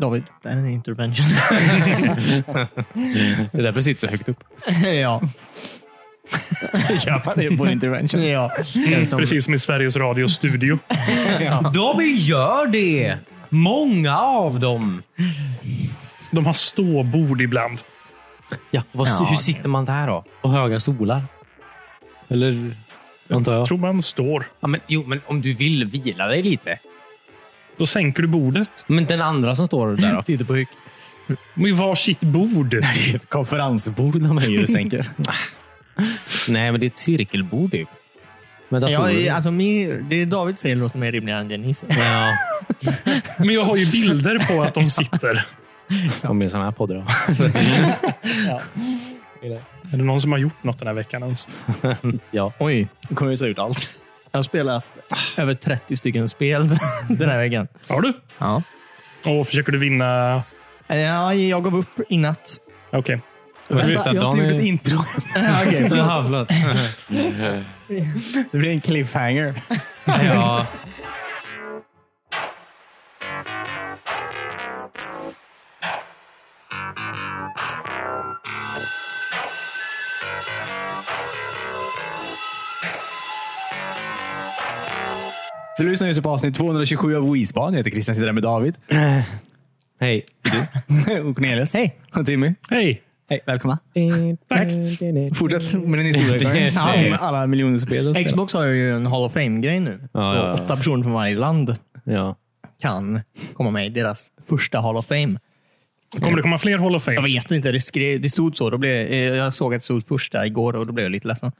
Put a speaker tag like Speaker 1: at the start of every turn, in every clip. Speaker 1: David, det här är en intervention.
Speaker 2: Det är därför jag sitter så högt upp.
Speaker 1: ja. Gör man det på en intervention? Ja.
Speaker 3: Precis som i Sveriges Radios studio.
Speaker 4: De gör det! Många av dem.
Speaker 3: De har ståbord ibland.
Speaker 2: Ja.
Speaker 4: Vad,
Speaker 1: Ja,
Speaker 4: hur
Speaker 1: det-
Speaker 4: sitter man där då?
Speaker 2: Och höga stolar. Eller? Antar jag.
Speaker 3: Tror man står.
Speaker 4: Ja, men, jo, men om du vill vila dig lite.
Speaker 3: Då sänker du bordet.
Speaker 4: Men den andra som står där då?
Speaker 1: Sitter på huk.
Speaker 3: Med varsitt bord.
Speaker 2: Det är ett konferensbord de höjer och sänker.
Speaker 4: Nej, men det är ett cirkelbord typ.
Speaker 2: Med
Speaker 1: Ja,
Speaker 2: datorer.
Speaker 1: i- alltså, min, det David säger låter mer rimligare än Dennis.
Speaker 4: Ja.
Speaker 3: Men jag har ju bilder på att de sitter.
Speaker 2: Ja, med sådana här poddar. då.
Speaker 3: Är det någon som har gjort något den här veckan ens?
Speaker 2: ja,
Speaker 1: Oj,
Speaker 2: nu kommer vi se ut allt.
Speaker 1: jag har spelat över 30 stycken spel den här veckan.
Speaker 3: Har du?
Speaker 1: Ja.
Speaker 3: Och försöker du vinna?
Speaker 1: Eh, Ja, jag gav upp i natt.
Speaker 3: Okej.
Speaker 2: Vänta, jag tog ett
Speaker 1: intro. Okej, förlåt.
Speaker 2: Det blir en cliffhanger.
Speaker 4: ja.
Speaker 2: Du lyssnar just på avsnitt 227 av Weezban. Jag heter Christian, sitter här med David.
Speaker 4: Eh, Hej.
Speaker 2: och Cornelius. Hej. Och Timmy.
Speaker 3: Hej.
Speaker 2: Hej, välkomna.
Speaker 3: Tack.
Speaker 2: Fortsätt med din historia.
Speaker 4: Det-
Speaker 2: Ja,
Speaker 4: det-
Speaker 2: med alla miljoner spel. och så.
Speaker 1: Xbox har ju en Hall of Fame-grej nu. så
Speaker 4: ja, ja.
Speaker 1: åtta personer från varje land
Speaker 4: Ja.
Speaker 1: kan komma med i deras första Hall of Fame.
Speaker 3: Kommer det komma fler Hall of
Speaker 1: Jag
Speaker 3: Fame?
Speaker 1: vet inte, det, skrev, det stod så. Då blev, eh, jag såg att det stod första igår och då blev jag lite ledsen.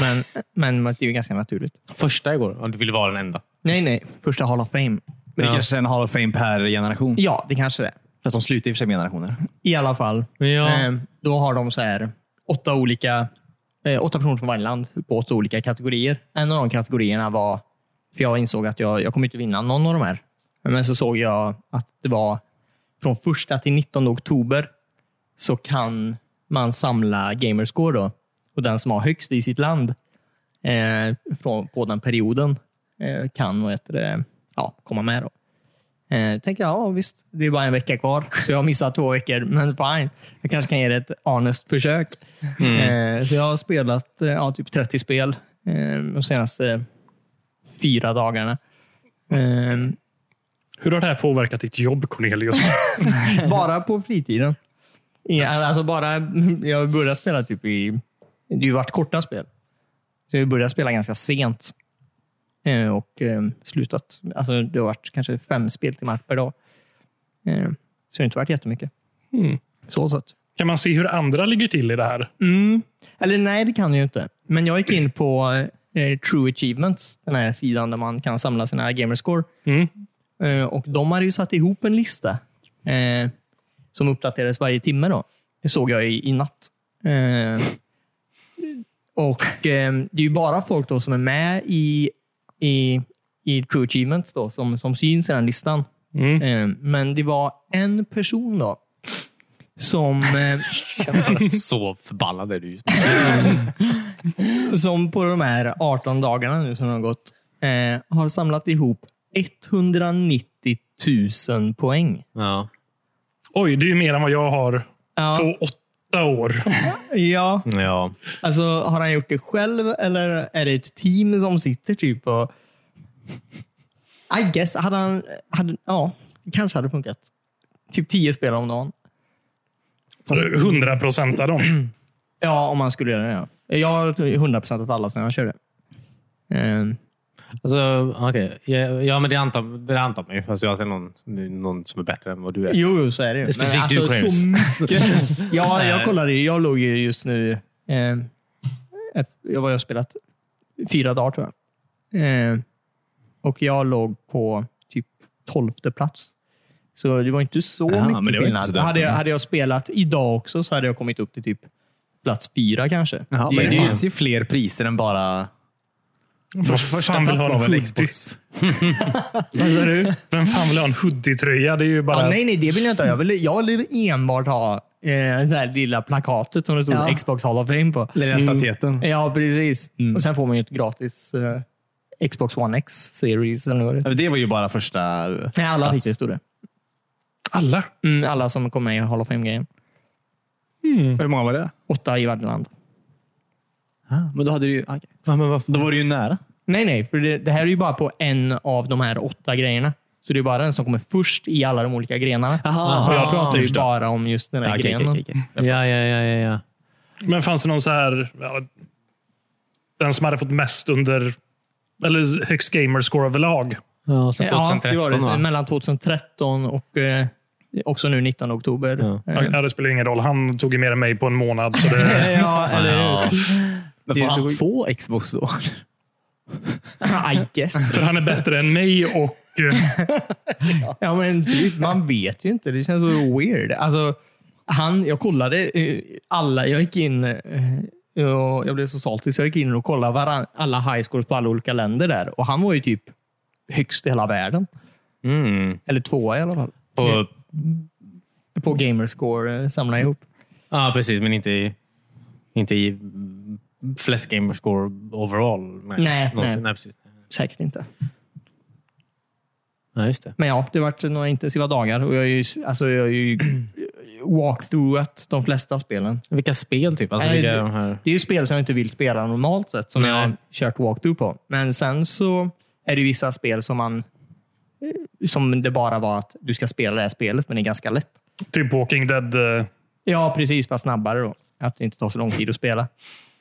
Speaker 1: Men, men det är ju ganska naturligt.
Speaker 4: Första igår. Ja, du ville vara den enda.
Speaker 1: Nej, nej. Första Hall of Fame.
Speaker 2: Men det
Speaker 4: Ja.
Speaker 2: kanske är en Hall of Fame per generation.
Speaker 1: Ja, det kanske det är.
Speaker 2: Fast de slutar i och för sig med generationer.
Speaker 1: I alla fall.
Speaker 4: Ja.
Speaker 1: Eh, Då har de så här åtta olika eh, åtta personer från varje land på åtta olika kategorier. En av de kategorierna var, för jag insåg att jag, jag kommer inte vinna någon av de här. Men så såg jag att det var från första till 19 oktober så kan man samla gamerscore då. Och den som har högst i sitt land eh, från, på den perioden eh, kan vad heter det, ja, komma med. Då. Eh, tänkte jag, ja visst, det är bara en vecka kvar. Så jag har missat två veckor, men fine. Jag kanske kan ge det ett honest försök. Eh, så jag har spelat eh, ja, typ 30 spel eh, de senaste fyra dagarna. Eh,
Speaker 3: Hur har det här påverkat ditt jobb, Cornelius?
Speaker 1: bara på fritiden. Ja, alltså bara, jag började spela typ i... Det har ju varit korta spel. Så jag började spela ganska sent. Eh, Och eh, slutat. Alltså det har varit kanske fem speltimmar per dag. Eh, Så det har inte varit jättemycket. Så sett.
Speaker 3: Kan man se hur andra ligger till i det här?
Speaker 1: Mm. Eller nej, det kan jag ju inte. Men jag gick in på eh, True Achievements, den här sidan där man kan samla sina gamerscore.
Speaker 3: Mm.
Speaker 1: Eh, och de hade ju satt ihop en lista eh, som uppdaterades varje timme. Då. Det såg jag i, i natt. Eh, och eh, Det är ju bara folk då som är med i, i, i True Achievements då, som, som syns i den listan.
Speaker 3: Mm.
Speaker 1: Eh, men det var en person då som... Eh,
Speaker 4: Så förbannad är du just nu.
Speaker 1: som på de här 18 dagarna nu som har gått eh, har samlat ihop 190 000 poäng.
Speaker 4: Ja.
Speaker 3: Oj, det är ju mer än vad jag har
Speaker 1: Ja,
Speaker 3: på åtta år.
Speaker 1: ja.
Speaker 4: ja.
Speaker 1: Alltså, har han gjort det själv eller är det ett team som sitter typ och... I guess, hade han... Hade, ja, det kanske hade funkat. Typ 10 spel om dagen.
Speaker 3: Hundra procent av dem.
Speaker 1: Ja, om man skulle göra det. Ja. Jag har 100% av alla som jag körde. Eh,
Speaker 4: Alltså, okej. Ja, ja, men det antar, det antar man ju. Alltså, jag ser någon, någon som är bättre än vad du är.
Speaker 1: Jo, jo, så är det ju.
Speaker 4: Specifikt du,
Speaker 1: alltså, så
Speaker 4: Clarence.
Speaker 1: mycket. ja, jag kollade ju. Jag låg ju just nu... Eh, ett- jag har spelat fyra dagar, tror jag. Eh, och jag låg på typ tolfte plats. Så det var inte så
Speaker 2: Jaha, men
Speaker 1: mycket
Speaker 2: det var inte så
Speaker 1: skillnad.
Speaker 2: dumt.
Speaker 1: Hade jag, hade jag spelat idag också så hade jag kommit upp till typ plats fyra kanske.
Speaker 2: Jaha,
Speaker 3: Det är
Speaker 2: men det
Speaker 3: fan-
Speaker 2: finns ju fler priser än bara...
Speaker 3: Vad fan vill ha en hoodie?
Speaker 1: Vad sa du?
Speaker 3: Vem fan vill ha en hoodie-tröja? Det är ju bara...
Speaker 1: Ja, nej, nej, det vill jag inte ha. Jag vill, jag vill enbart ha eh, det här lilla plakatet som det stod
Speaker 2: Ja.
Speaker 1: Xbox Hall of Fame på. Mm.
Speaker 2: Lilla
Speaker 4: Mm.
Speaker 2: stateten.
Speaker 1: Ja, precis. Och sen får man ju ett gratis eh, Xbox One X Series. Eller vad det är.
Speaker 2: Ja, Det var ju bara första...
Speaker 1: Nej, alla
Speaker 2: plats.
Speaker 1: fick det, stod det.
Speaker 3: Alla?
Speaker 1: Mm, alla som kom med i Hall of Fame-grejen.
Speaker 2: Hur många var det?
Speaker 1: Åtta i varje land.
Speaker 2: Ah, men då, hade du, ju- okej.
Speaker 4: Ja, men vad
Speaker 2: då var du ju nära.
Speaker 1: Nej, nej. För det, det här är ju bara på en av de här åtta grejerna. Så det är bara den som kommer först i alla de olika grenarna.
Speaker 2: Aha.
Speaker 1: Och jag pratar ju
Speaker 2: Ah, Förstår.
Speaker 1: bara om just den här
Speaker 2: Okej,
Speaker 1: grenen.
Speaker 2: okej, okej, okej.
Speaker 4: Ja, ja, ja, ja, ja.
Speaker 3: Men fanns det någon så här... Ja, den som hade fått mest under... Eller högst gamerscore överlag.
Speaker 4: Ja, sen
Speaker 1: Ja, det var det.
Speaker 4: 2013
Speaker 1: Så
Speaker 4: va?
Speaker 1: Mellan 2013 och eh, också nu 19 oktober.
Speaker 4: Ja.
Speaker 1: Eh,
Speaker 3: Ja, det spelar ingen roll. Han tog ju mer än mig på en månad. Så det,
Speaker 1: ja, eller
Speaker 2: Men
Speaker 1: Det är
Speaker 2: får han
Speaker 1: så-
Speaker 2: två Xbox då?
Speaker 1: Eh, I guess.
Speaker 3: för han är bättre än mig och... eh,
Speaker 1: Ja, men typ, man vet ju inte. Det känns så weird. Alltså, han, jag kollade eh, alla. Jag gick in eh, och jag blev så saltig så jag gick in och kollade varan, alla highscores på alla olika länder där. Och han var ju typ högst i hela världen.
Speaker 4: Mm.
Speaker 1: Eller tvåa i alla fall.
Speaker 4: På,
Speaker 1: På gamerscore eh, samla ihop.
Speaker 4: ja, precis. Men inte i, inte i mm, flest gamer score overall.
Speaker 1: Nej,
Speaker 4: någonsin.
Speaker 1: nej.
Speaker 4: nej. precis.
Speaker 1: Säkert inte.
Speaker 4: Ja, just det.
Speaker 1: Men ja, det har varit några intensiva dagar och jag har ju, alltså, jag har ju walkthroughat de flesta spelen.
Speaker 4: Vilka spel typ? Alltså,
Speaker 1: Nej,
Speaker 4: vilka
Speaker 1: det-
Speaker 4: de här...
Speaker 1: Det är ju spel som jag inte vill spela normalt sett, som
Speaker 4: Nej.
Speaker 1: jag har kört walkthrough på. Men sen så är det ju vissa spel som man eh, som det bara var att du ska spela det här spelet, men det är ganska lätt.
Speaker 3: typ Walking Dead. eh,
Speaker 1: Ja, precis. Bara snabbare då. Att det inte tar så lång tid att spela.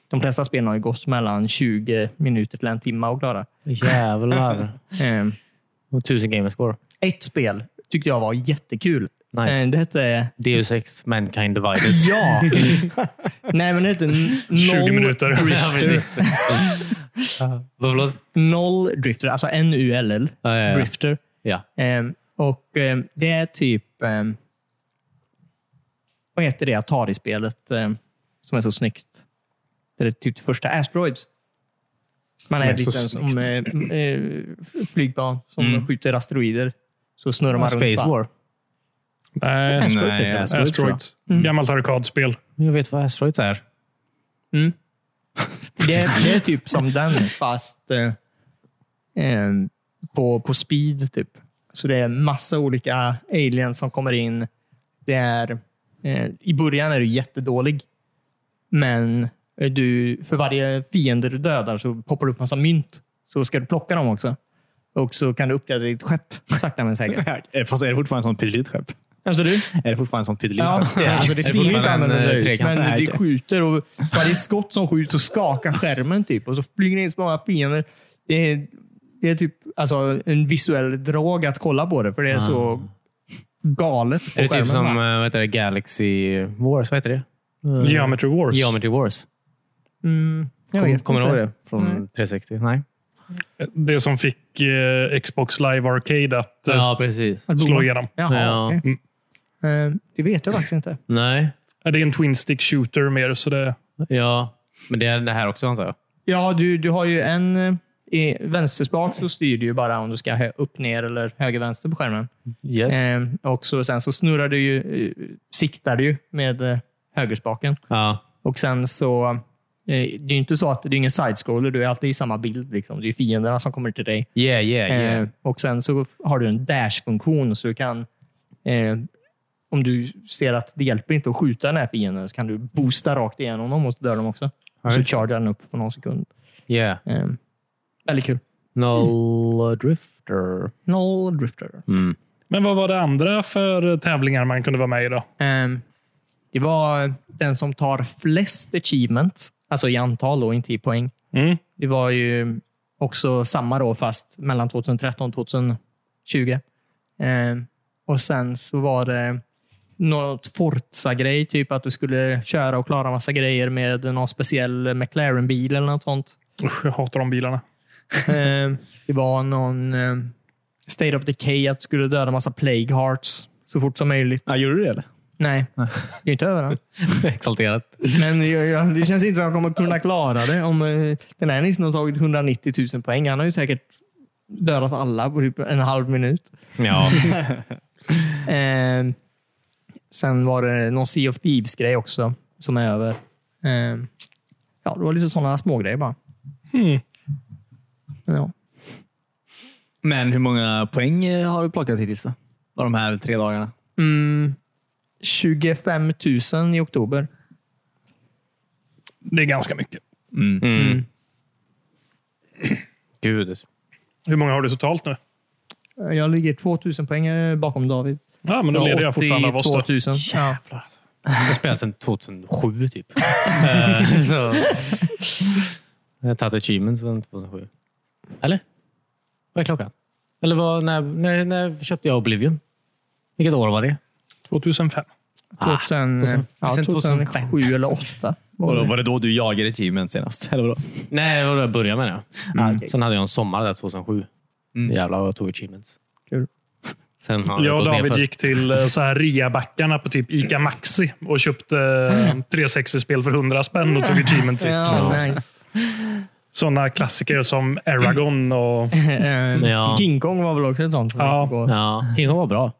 Speaker 1: De flesta spelen har ju gått mellan 20 minuter till en timme att klara.
Speaker 4: Jävlar.
Speaker 1: Eh,
Speaker 4: Och tusen gamer score.
Speaker 1: Ett spel tyckte jag var jättekul.
Speaker 4: Nice.
Speaker 1: Eh, Det hette...
Speaker 4: Deus Ex, Mankind Divided.
Speaker 1: Ja! Nej, men det hette n-
Speaker 3: 20
Speaker 1: Noll
Speaker 3: minuter.
Speaker 4: ja, precis. Vad förlåt?
Speaker 1: Noll Drifter, alltså N-U-L-L.
Speaker 4: Ja, ja, ja.
Speaker 1: Drifter.
Speaker 4: Ja.
Speaker 1: Ehm, och ehm, det är typ... ehm, vad heter det Atari-spelet ehm, som är så snyggt? Det är typ det första Asteroids. Man
Speaker 4: Som
Speaker 1: är,
Speaker 4: är så
Speaker 1: liten som eh, eh, flygplan som skjuter asteroider. Så snurrar man runt.
Speaker 4: Mm. Space
Speaker 1: bara.
Speaker 4: War.
Speaker 3: Nej,
Speaker 2: Asteroid
Speaker 3: Asteroid.
Speaker 2: heter
Speaker 4: typ.
Speaker 2: det.
Speaker 3: Asteroid.
Speaker 2: Asteroid,
Speaker 4: Mm.
Speaker 3: Gammalt arkadspel.
Speaker 4: Jag vet vad Asteroids är.
Speaker 1: Mm. Det, är- det är typ som den, fast eh, eh, på, på speed. typ. Så det är massa olika aliens som kommer in. Det är, eh, I början är du jättedålig, men eh, du, för varje fiende du dödar så poppar det upp massa mynt. Så ska du plocka dem också. Och så kan du uppgradera ditt skepp sakta men säkert.
Speaker 2: eh, Fast är det fortfarande en sån pyttelitskepp?
Speaker 1: Alltså du?
Speaker 2: Är det fortfarande en sån
Speaker 1: Ja,
Speaker 2: pyttelitskepp?
Speaker 1: det, alltså det
Speaker 4: Det är
Speaker 1: ser ju inte
Speaker 4: fortfarande en,
Speaker 1: annorlunda
Speaker 4: eh,
Speaker 1: ut,
Speaker 4: trekant.
Speaker 1: men
Speaker 2: Nej,
Speaker 1: det
Speaker 2: okej.
Speaker 1: skjuter och varje skott som skjuts så skakar skärmen typ och så flyger det in så många fiender. Det är, det är typ alltså, en visuell drag att kolla på det, för det är så galet på
Speaker 4: Är det typ
Speaker 1: skärmen.
Speaker 4: som
Speaker 1: va?
Speaker 4: eh, vad heter det, Galaxy Wars? Vad heter det? Eh,
Speaker 3: Geometry Wars.
Speaker 4: Geometry Wars.
Speaker 1: mm, jag
Speaker 4: Kom,
Speaker 1: vet
Speaker 4: kommer du
Speaker 1: inte.
Speaker 4: ihåg det? Från 360? Nej.
Speaker 3: Det som fick eh, Xbox Live Arcade att eh,
Speaker 4: Ja, precis.
Speaker 1: Att
Speaker 3: slå
Speaker 1: bomma?
Speaker 3: igenom.
Speaker 1: Jaha,
Speaker 4: Ja.
Speaker 1: okej.
Speaker 4: Mm.
Speaker 1: Eh, Det vet jag faktiskt inte.
Speaker 4: Nej.
Speaker 3: Ja, Det är en Twin Stick Shooter mer, så det...
Speaker 4: Ja. Men det är det här också antar jag?
Speaker 1: Ja, du, du har ju en eh, i vänsterspak så styr du ju bara om du ska hö- upp, ner eller höger, vänster på skärmen.
Speaker 4: Yes.
Speaker 1: Ehm, och så, sen så snurrar du ju, eh, siktar du ju med eh, högerspaken.
Speaker 4: Ja.
Speaker 1: Och sen så, eh, det är ju inte så att det är ingen sidescroller, du är alltid i samma bild. Liksom. Det är ju fienderna som kommer till dig.
Speaker 4: Yeah, yeah, yeah.
Speaker 1: Eh, och sen så f- har du en dash-funktion, så du kan, eh, om du ser att det hjälper inte att skjuta den här fienden, så kan du boosta rakt igenom dem och så dör de också. Och så
Speaker 4: just det.
Speaker 1: chargar den upp på någon sekund.
Speaker 4: yeah.
Speaker 1: Ehm, väldigt kul.
Speaker 4: Null Drifter.
Speaker 1: Noll drifter.
Speaker 3: Men vad var det andra för eh, tävlingar man kunde vara med i då?
Speaker 1: Ehm, det var den som tar flest achievements, alltså i antal och inte i poäng.
Speaker 3: Mm.
Speaker 1: Det var ju också samma då, fast mellan 2013 och 2020. Ehm, och sen så var det något Forza-grej, typ att du skulle köra och klara massa grejer med någon speciell McLaren-bil eller något sånt.
Speaker 3: Usch, jag hatar de bilarna.
Speaker 1: Ehm, det var någon ehm, State of Decay, att du skulle döda massa Plague Hearts så fort som möjligt.
Speaker 2: Ja, gjorde du det eller?
Speaker 1: Nej, det är inte överallt.
Speaker 4: Exalterat.
Speaker 1: Men jag, jag, det känns inte som att jag kommer kunna klara det. Om, eh, den här nissen har tagit 190 000 poäng. Han har ju säkert dödat alla på typ en halv minut.
Speaker 4: Ja.
Speaker 1: Eh, sen var det någon Sea of Thieves-grej också som är över. Eh, ja, det var lite sådana smågrejer bara.
Speaker 3: Hmm.
Speaker 1: Men Ja.
Speaker 2: Men hur många poäng eh, har du plockat hittills då? Av de här tre dagarna?
Speaker 1: Mm, 25 000 i oktober.
Speaker 3: Det är ganska mycket.
Speaker 1: Mm.
Speaker 4: Gud.
Speaker 3: Hur många har du totalt nu?
Speaker 1: Jag ligger 2 000 poäng eh, bakom David.
Speaker 3: Ja, men då leder jag fortfarande av oss. Då.
Speaker 1: 000. Ja.
Speaker 4: Jävlar. alltså. Jag har spelat sedan 2007 typ. Eh, så. Jag har tagit achievements sedan 2007. Eller? Vad är klockan? Eller vad, när, när, när köpte jag Oblivion? Vilket år var det?
Speaker 3: 2005.
Speaker 1: 2000,
Speaker 4: Ah, 2000,
Speaker 1: ja,
Speaker 4: sen
Speaker 1: 2007 eller 2008.
Speaker 2: Och då var det då du jagade achievement senast? Eller vadå?
Speaker 4: Nej, det var då jag började med det.
Speaker 1: Mm.
Speaker 4: Sen hade jag en sommar där 2007. Jävlar vad jag tog achievements.
Speaker 1: Kul.
Speaker 4: Sen har
Speaker 3: Jag och
Speaker 4: gått ner
Speaker 3: David
Speaker 4: för-
Speaker 3: gick till eh, så här reabackarna på typ Ica Maxi och köpte eh, 360-spel för 100 spänn och tog achievements i.
Speaker 1: Ja, nice.
Speaker 3: Sådana klassiker som Aragon och...
Speaker 1: Eh,
Speaker 4: Ja.
Speaker 1: King Kong var väl också ett sånt. som
Speaker 3: Ja.
Speaker 1: jag går.
Speaker 4: Ja, King Kong var bra.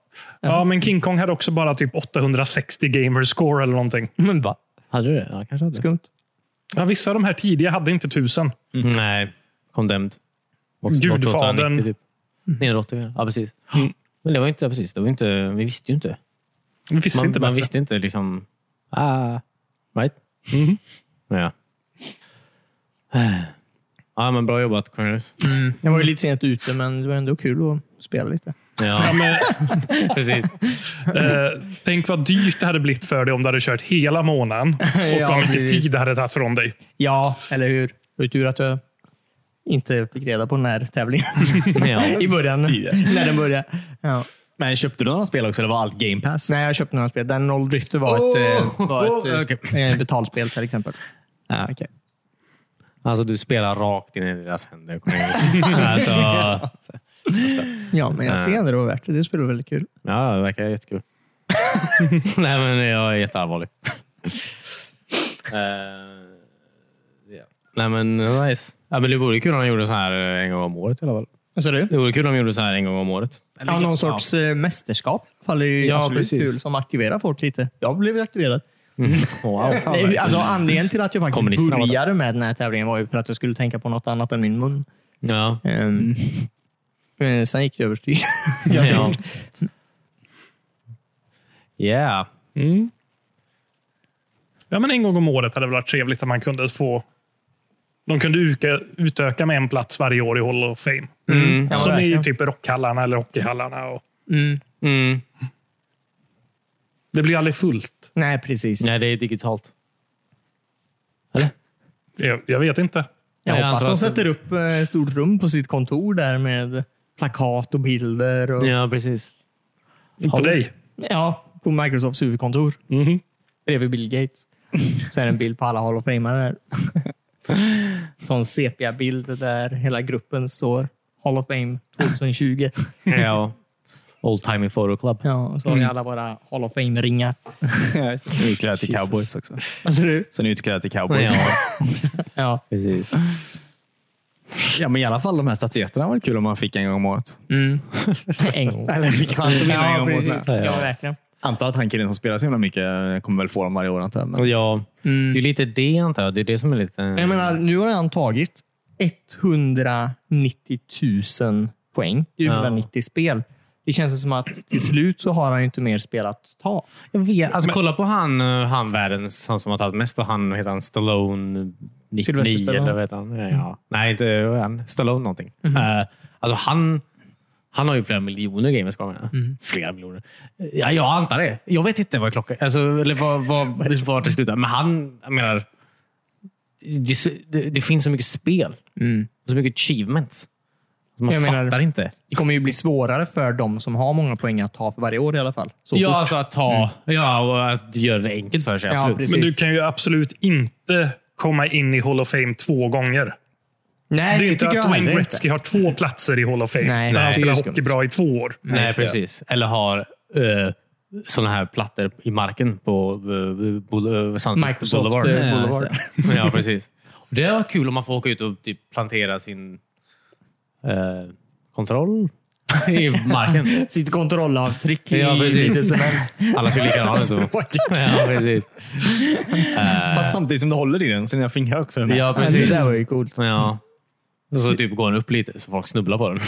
Speaker 3: Ja, men King Kong hade också bara typ 860 gamer score eller någonting.
Speaker 1: Men va?
Speaker 4: Hade du det? Ja, kanske hade.
Speaker 1: Skumt.
Speaker 3: Ja, vissa av de här tidiga hade inte 1000.
Speaker 4: Mm. Nej, Condemned.
Speaker 3: Gudfadern.
Speaker 4: 890 Typ. 980, ja precis. Men det var inte, ja, precis, det var inte, vi visste ju inte.
Speaker 3: Vi visste
Speaker 4: Man,
Speaker 3: inte
Speaker 4: man
Speaker 3: bättre.
Speaker 4: visste inte liksom... Ah, right?
Speaker 3: Mm-hmm.
Speaker 4: Ja. ja, men bra jobbat Cornelius.
Speaker 3: Mm.
Speaker 1: Jag var ju lite sent ute, men det var ändå kul att spela lite.
Speaker 4: Ja,
Speaker 3: Men,
Speaker 4: precis.
Speaker 3: Eh, tänk vad dyrt det hade blivit för dig om du hade kört hela månaden och
Speaker 1: Ja,
Speaker 3: vad mycket
Speaker 1: precis.
Speaker 3: tid det hade tagit från dig.
Speaker 1: Ja, eller hur? Det var ju tur att jag inte fick reda på den här tävlingen
Speaker 4: Ja.
Speaker 1: i början. när den började. Ja.
Speaker 2: Men köpte du några spel också eller var allt game pass?
Speaker 1: Nej, jag köpte några spel. Den Old Drifter var ett, eh, var ett eh, eh, betalspel till exempel.
Speaker 2: Ah, okay.
Speaker 4: Alltså, du spelar rakt in i deras händer, Cornelius. alltså,
Speaker 1: Ja, men jag tycker ändå det var värt det. Det spelar väldigt kul.
Speaker 4: ja, det verkar jättekul. Nej, men jag är jätteallvarlig. Eh, ja. Nej, men nice. Ja, men det vore kul om de gjorde så här eh, en gång om året i alla fall.
Speaker 1: Vad sa du?
Speaker 4: Det vore kul om de gjorde så här en gång om året.
Speaker 1: Ja, någon sorts eh, mästerskap. i alla fall. Det är ju
Speaker 4: Ja,
Speaker 1: absolut
Speaker 4: precis.
Speaker 1: kul som aktiverar folk lite. Jag blev aktiverad.
Speaker 4: Wow.
Speaker 1: Nej, alltså, anledningen till att jag faktiskt
Speaker 4: Kommunisterna var där.
Speaker 1: började med den här tävlingen var ju för att jag skulle tänka på något annat än min mun.
Speaker 4: Ja.
Speaker 1: Ehm,
Speaker 4: Mm.
Speaker 1: eh, Sen gick det överstyr.
Speaker 4: Ja. Yeah.
Speaker 3: Mm. Ja, men en gång om året hade det varit trevligt att man kunde få... De kunde uka, utöka med en plats varje år i Hall of Fame.
Speaker 4: Mm.
Speaker 1: Ja,
Speaker 3: Som i
Speaker 1: verkligen.
Speaker 3: typ rockhallarna eller hockeyhallarna. Och
Speaker 1: Mm.
Speaker 4: Mm.
Speaker 3: det blir aldrig fullt.
Speaker 1: Nej, precis.
Speaker 4: Nej, det är digitalt.
Speaker 3: Jag, jag vet inte.
Speaker 1: Jag
Speaker 4: Nej, jag
Speaker 1: hoppas
Speaker 4: antar
Speaker 1: de
Speaker 4: att-
Speaker 1: sätter upp eh, ett stort rum på sitt kontor där med plakat och bilder. Och,
Speaker 4: Ja, precis.
Speaker 3: På dig. Mhm.
Speaker 1: ja, på Microsofts huvudkontor. Bredvid Bill Gates. Så är det en bild på alla Hall of Famare där. Sån sepia-bild där hela gruppen står. Hall of Fame 2020.
Speaker 4: Ja. Old Timey Photo Club.
Speaker 1: Ja, och så har
Speaker 4: Mm.
Speaker 1: vi alla våra Hall of Fame-ringar.
Speaker 2: Sen utklädd till cowboys också.
Speaker 1: Alltså du?
Speaker 2: Sen utklädd till cowboys.
Speaker 4: Ja,
Speaker 1: Ja.
Speaker 4: precis.
Speaker 2: Ja, men i alla fall de här statyetterna var kul om man fick en gång om året.
Speaker 1: Mm. en gång.
Speaker 2: Eller fick han som vinner en
Speaker 1: Ja,
Speaker 2: gång om året.
Speaker 1: precis.
Speaker 2: med.
Speaker 1: Ja, verkligen.
Speaker 2: Antar att han killen som spelar så himla mycket kommer väl få dem varje år antar jag. Men...
Speaker 4: Ja. Det är lite det, antar jag. Det är det som är lite...
Speaker 1: Jag menar, nu har han tagit 190 000 poäng. Det är ju
Speaker 4: Ja.
Speaker 1: 190 spel. Det känns som att till slut så har han ju inte mer spel att ta.
Speaker 4: Jag vet. Alltså, kolla på han, eh, han världens, han som har tagit mest. och Han heter han Stallone 99
Speaker 1: Stallone.
Speaker 4: eller vad heter han? Ja, ja. Nej, inte vad är han. Stallone någonting. Eh, alltså han, han har ju flera miljoner gamers kvar. menar jag. Flera miljoner. Ja, jag antar det. Jag vet inte vad klockan alltså, eller vad, vad, vart det slutar. Men han, jag menar, det, det, det finns så mycket spel. Så mycket achievements. Så man
Speaker 1: Jag
Speaker 4: fattar
Speaker 1: menar-
Speaker 4: inte.
Speaker 1: Det kommer ju bli svårare för de som har många poäng att ta för varje år i alla fall. Så
Speaker 4: Ja,
Speaker 1: fort-
Speaker 4: alltså att ta... Ja, och att göra det enkelt för sig.
Speaker 1: Ja,
Speaker 4: Absolut.
Speaker 1: precis.
Speaker 3: Men du kan ju absolut inte komma in i Hall of Fame två gånger.
Speaker 1: Nej,
Speaker 3: Det
Speaker 1: det,
Speaker 3: är inte
Speaker 1: tycker jag
Speaker 3: att Wayne
Speaker 1: heller inte.
Speaker 3: Gretzky har två platser i Hall of Fame.
Speaker 1: Nej, nej,
Speaker 3: när han
Speaker 1: det är
Speaker 3: spelar
Speaker 1: skumt.
Speaker 3: hockey bra i två år.
Speaker 4: Nej, precis. Eller har uh, sådana här plattor i marken på eh, Bol- eh, Sunset
Speaker 1: Microsoft
Speaker 4: Boulevard.
Speaker 1: eh,
Speaker 2: Ja,
Speaker 1: Boulevard.
Speaker 4: ja, precis. Det var kul om man får åka ut och typ plantera sin eh, kontroll i marken.
Speaker 1: Sitt kontrollavtryck i
Speaker 4: Ja, precis.
Speaker 1: lite cement.
Speaker 4: Alla ser likadana ut. Ja, precis.
Speaker 2: eh. Fast samtidigt som du håller i den, sina fingrar också.
Speaker 4: Ja,
Speaker 1: Det
Speaker 4: precis.
Speaker 1: där var ju coolt.
Speaker 4: Ja. Och så typ går den upp lite så folk snubblar på den.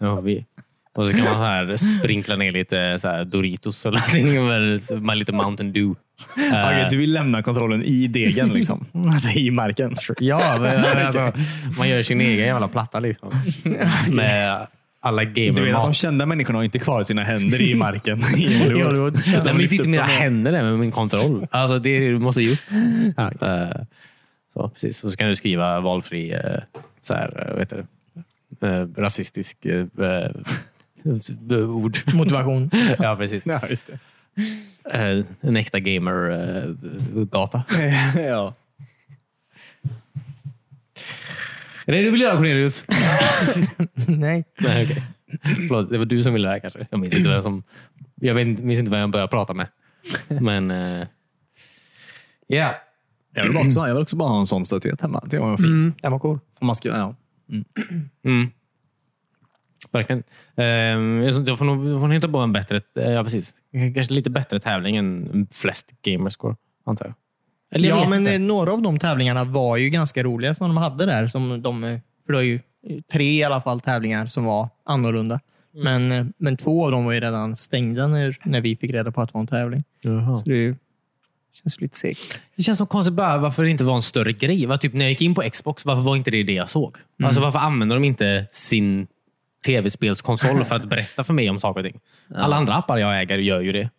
Speaker 4: ja, vi. Och så kan man så här sprinkla ner lite så här Doritos och någonting med, med lite Mountain Dew. Eh,
Speaker 2: Okej, du vill lämna kontrollen i degen, liksom. alltså i marken.
Speaker 4: Ja, men, alltså, man gör sin egen jävla platta liksom. Med alla
Speaker 2: Du vet att de
Speaker 4: gamer-mat.
Speaker 2: kända människorna har inte kvar sina händer i marken i
Speaker 4: Jo,
Speaker 2: Hollywood.
Speaker 4: det var- De har inte mina händer där med min kontroll. Alltså, det måste ju. Eh, Så, precis. Och så kan du skriva valfri eh, så här, eh, vad heter det? Eh, rasistisk eh, eh, ord.
Speaker 1: Motivation.
Speaker 4: Ja, precis.
Speaker 2: Ja, just det.
Speaker 4: Eh, En äkta eh, gamer-gata.
Speaker 2: ja.
Speaker 4: Är det det du vill göra Cornelius?
Speaker 1: Nej.
Speaker 4: Nej, okej. Förlåt, det var du som ville det här kanske. Jag minns inte vem, som, jag vet, inte- minns inte vem jag började prata med. Men... eh, Ja.
Speaker 2: Jag, vill också, jag vill också bara ha en sån statyett hemma. Det var fint.
Speaker 1: Mm, den var cool.
Speaker 2: Om man ska, ja.
Speaker 4: Mm. Verkligen. Ehm, jag tror- jag får nog jag får nog hitta på en bättre, eh, ja, precis. Kanske lite bättre tävling än flest gamerscore, antar jag. Eller jag
Speaker 1: Ja,
Speaker 4: vet
Speaker 1: men
Speaker 4: inte.
Speaker 1: eh, några av de tävlingarna var ju ganska roliga som de hade där. Som de, eh, för det var ju tre i alla fall tävlingar som var annorlunda.
Speaker 4: Mm.
Speaker 1: Men, eh, men två av dem var ju redan stängda när, när vi fick reda på att det var en tävling. Så det är ju- känns ju lite segt.
Speaker 4: Det känns som konstigt bara varför det inte var en större grej. Var typ när jag gick in på Xbox, varför var inte det det jag såg?
Speaker 1: Mm.
Speaker 4: Alltså Varför använder de inte sin tv-spelskonsol för att berätta för mig om saker och ting? Alla andra appar jag äger gör ju det.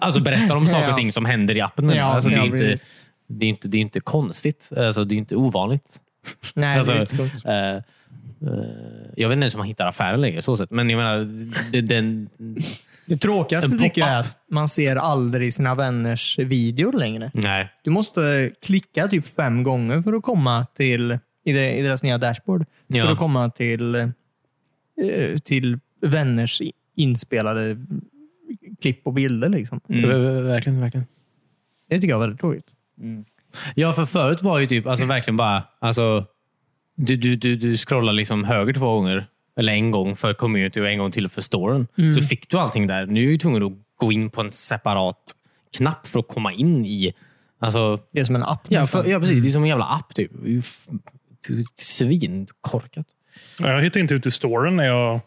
Speaker 4: Alltså berättar om saker och ting som händer i appen.
Speaker 1: Ja,
Speaker 4: alltså, det, är
Speaker 1: ja,
Speaker 4: inte,
Speaker 1: precis.
Speaker 4: det, är inte, det är inte konstigt. Alltså, det är inte ovanligt.
Speaker 1: Nej,
Speaker 4: Alltså,
Speaker 1: det är inte skumt.
Speaker 4: eh, eh, jag vet inte ens om man hittar affären längre. Så sett. Men jag menar, det, den,
Speaker 1: Mm. Det tråkigaste
Speaker 4: en
Speaker 1: tycker jag är att man ser aldrig sina vänners videor längre.
Speaker 4: nej.
Speaker 1: Du måste klicka typ fem gånger för att komma till i de- i deras nya dashboard.
Speaker 4: Ja.
Speaker 1: För att komma till, eh, till vänners i- inspelade klipp och bilder. Liksom.
Speaker 4: Verkligen, verkligen.
Speaker 1: Det tycker jag är väldigt tråkigt.
Speaker 4: Ja, för förut var ju typ alltså verkligen bara... Alltså, du, du, du, du scrollar liksom höger två gånger, eller en gång för community och en gång till för storyn. Så fick du allting där. Nu är du tvungen att gå in på en separat knapp för att komma in i... Alltså,
Speaker 1: Det är som en app.
Speaker 4: ja,
Speaker 1: nästan.
Speaker 4: för, ja, precis. Det är som en jävla app. Typ. Det är ju f- Svinkorkat.
Speaker 3: Ja, Jag hittade inte ut ur storyn när jag...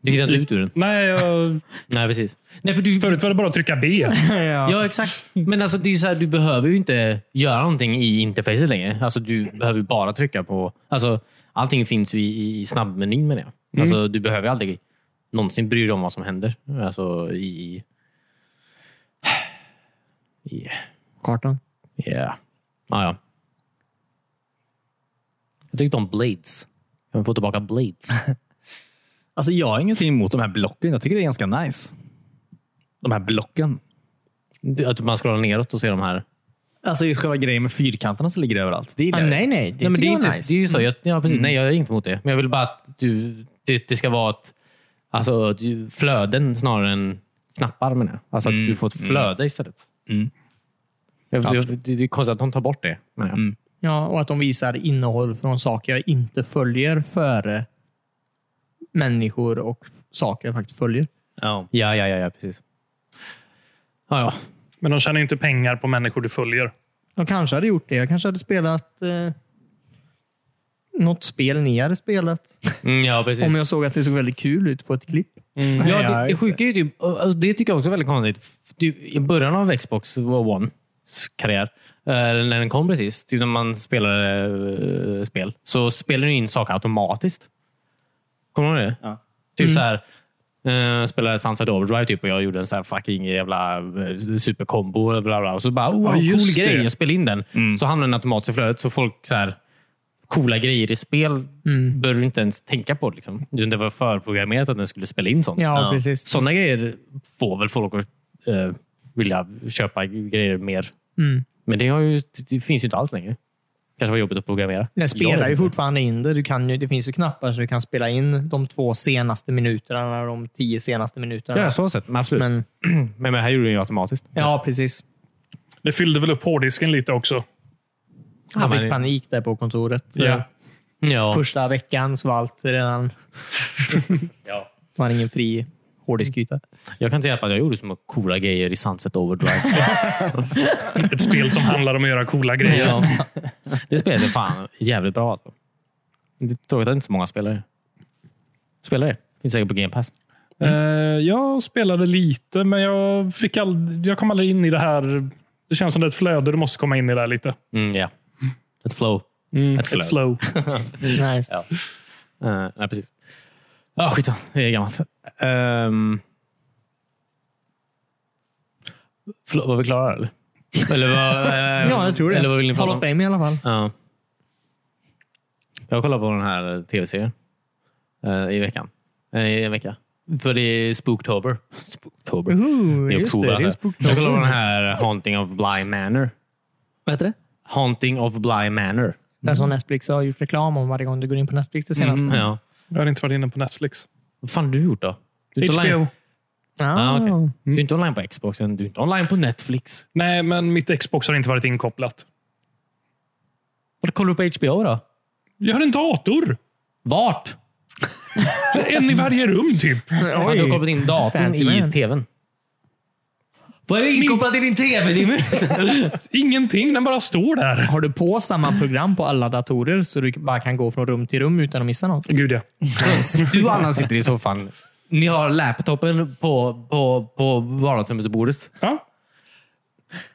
Speaker 4: Du hittar inte ut ur den.
Speaker 3: Nej, jag...
Speaker 4: Nej, precis. Nej, för du,
Speaker 3: Förut var det bara att trycka B.
Speaker 4: Ja, exakt. Men alltså, det är ju så här, du behöver ju inte göra någonting i interfacet längre. Alltså, du behöver ju bara trycka på... Alltså, allting finns ju i, i snabbmenyn menar jag. Alltså, du behöver ju aldrig någonsin bry dig om vad som händer. Alltså, i... i
Speaker 1: Kartan.
Speaker 4: yeah. Ah, ja. Jag tyckte om Blades. Kan vi få tillbaka Blades?
Speaker 2: Alltså, jag har ingenting emot de här blocken. Jag tycker det är ganska nice. De här blocken.
Speaker 4: Du- Att man scrollar neråt och ser de här.
Speaker 2: Alltså just själva grejen med fyrkanterna som ligger överallt. Det
Speaker 1: Ah,
Speaker 2: gillar jag.
Speaker 1: nej, nej. Det,
Speaker 4: Nej, men det,
Speaker 1: tycker
Speaker 4: är inte,
Speaker 1: jag är nice.
Speaker 4: det är ju så. Jag, ja, precis, Nej, jag är inte emot det. Men jag vill bara att du, det, det ska vara ett, alltså, att du- flöden snarare än knappar. Menar jag. Alltså att du får ett flöde istället.
Speaker 2: Mm.
Speaker 4: Jag, jag, det, det är konstigt att de tar bort det. Menar jag.
Speaker 1: Ja, och att de visar innehåll från saker jag inte följer före människor och saker jag faktiskt följer.
Speaker 2: Ja.
Speaker 4: Ja, ja, ja, ja, precis. Ja, ja.
Speaker 3: Men de tjänar ju inte pengar på människor du följer.
Speaker 1: De kanske hade gjort det. Jag kanske hade spelat eh, något spel ni hade spelat.
Speaker 4: Mm, ja precis.
Speaker 1: Om jag såg att det såg väldigt kul ut på ett klipp.
Speaker 4: Mm.
Speaker 2: Ja,
Speaker 4: Ja, det, det
Speaker 2: just
Speaker 4: sjuka är ju typ, alltså, det tycker jag också är väldigt konstigt. F- Typ, I början av Xbox One karriär, eh, när den kom precis, typ när man spelade eh, spel, så spelade den in saker automatiskt. Kommer du ihåg det?
Speaker 2: Ja.
Speaker 4: Typ så här, eh, spelade Sunset Overdrive typ, och jag gjorde en så här fucking jävla eh, superkombo. Bla bla, bla. Och så bara, oh,
Speaker 3: Ja,
Speaker 4: cool
Speaker 3: just
Speaker 4: grej,
Speaker 3: det.
Speaker 4: jag spelade in den. Så hamnade den automatiskt i flödet, så folk så här, coola grejer i spel
Speaker 1: Mm.
Speaker 4: behöver du inte ens tänka på. Liksom. Det var förprogrammerat att den skulle spela in sånt.
Speaker 1: Ja, precis.
Speaker 4: Sådana grejer får väl folk att eh, vilja köpa grejer mer.
Speaker 1: Mm.
Speaker 4: Men det, har ju, det finns ju inte alls längre. kanske var jobbigt att programmera.
Speaker 1: Den spelar
Speaker 4: Jag
Speaker 1: ju
Speaker 4: vet inte.
Speaker 1: fortfarande in det. Du kan ju, det finns ju knappar så du kan spela in de två senaste minuterna, de tio senaste minuterna.
Speaker 4: Ja, så sett. Men absolut. Men,
Speaker 1: Men
Speaker 4: men det här gjorde den ju automatiskt.
Speaker 1: ja, precis.
Speaker 3: Det fyllde väl upp hårddisken lite också.
Speaker 1: Han
Speaker 4: Ja,
Speaker 1: fick
Speaker 4: men-
Speaker 1: panik där på kontoret. Så
Speaker 3: Ja.
Speaker 4: Ja.
Speaker 1: Första veckan så var allt redan... Det var ingen fri hårddiskyta.
Speaker 4: Jag kan inte hjälpa att jag gjorde så coola grejer i Sunset Overdrive.
Speaker 3: Ett spel som handlar om att göra coola grejer.
Speaker 4: Ja. Det spelade fan jävligt bra. Alltså. Det är tråkigt att inte så många spelare. Spela det. Finns säkert på Game Pass.
Speaker 3: Eh, jag spelade lite, men jag, fick ald- jag kom aldrig in i det här. Det känns som det är ett flöde. Du måste komma in i det här lite.
Speaker 4: Mm, ja. Ett flow.
Speaker 3: Mm,
Speaker 4: Ett
Speaker 3: Ett flow.
Speaker 4: Mm.
Speaker 1: Nice.
Speaker 4: Eh, nej, precis. Ja, skitsamma. Det är gammalt. Um, förlåt, var vi klara eller? Eller vad, eh,
Speaker 1: Ja, jag tror det.
Speaker 4: Eller vad vill ni prata
Speaker 1: Hall
Speaker 4: om?
Speaker 1: of Fame i alla fall.
Speaker 4: Ja. Jag kollar på den här tv-serien eh, i veckan. Eh, I en vecka. För det är Spooktober. Spooktober.
Speaker 1: Ooh,
Speaker 4: I
Speaker 1: just det,
Speaker 4: oktober.
Speaker 1: det är
Speaker 4: jag kollar på
Speaker 1: Spooktober.
Speaker 4: den här Haunting of Bly Manor.
Speaker 1: Vad heter det?
Speaker 4: Haunting of Bly Manor.
Speaker 1: Den som Netflix har gjort reklam om varje gång du går in på Netflix det senaste.
Speaker 4: Mm, Ja.
Speaker 3: Jag har inte varit inne på Netflix.
Speaker 4: Vad fan har du gjort då? Du är inte
Speaker 3: HBO.
Speaker 4: Online... Ah, okej.
Speaker 1: Mm.
Speaker 4: Du är inte online på Xboxen. Du är inte online på Netflix.
Speaker 3: Nej, men mitt Xbox har inte varit inkopplat.
Speaker 4: Var kollar du på HBO då?
Speaker 3: Jag har en dator!
Speaker 4: Vart?
Speaker 3: En i varje rum, typ.
Speaker 4: Ja, du har kopplat in datorn
Speaker 1: Fancy man.
Speaker 4: i tvn. Vad är det inkopplat i din tv, Timmy?
Speaker 3: Ingenting. Den bara står där.
Speaker 1: Har du på samma program på alla datorer så du bara kan gå från rum till rum utan att missa något?
Speaker 3: Gud, ja.
Speaker 4: Du och Anna sitter i soffan. Ni har laptopen på, på, på vardagsrumsbordet.
Speaker 3: ja.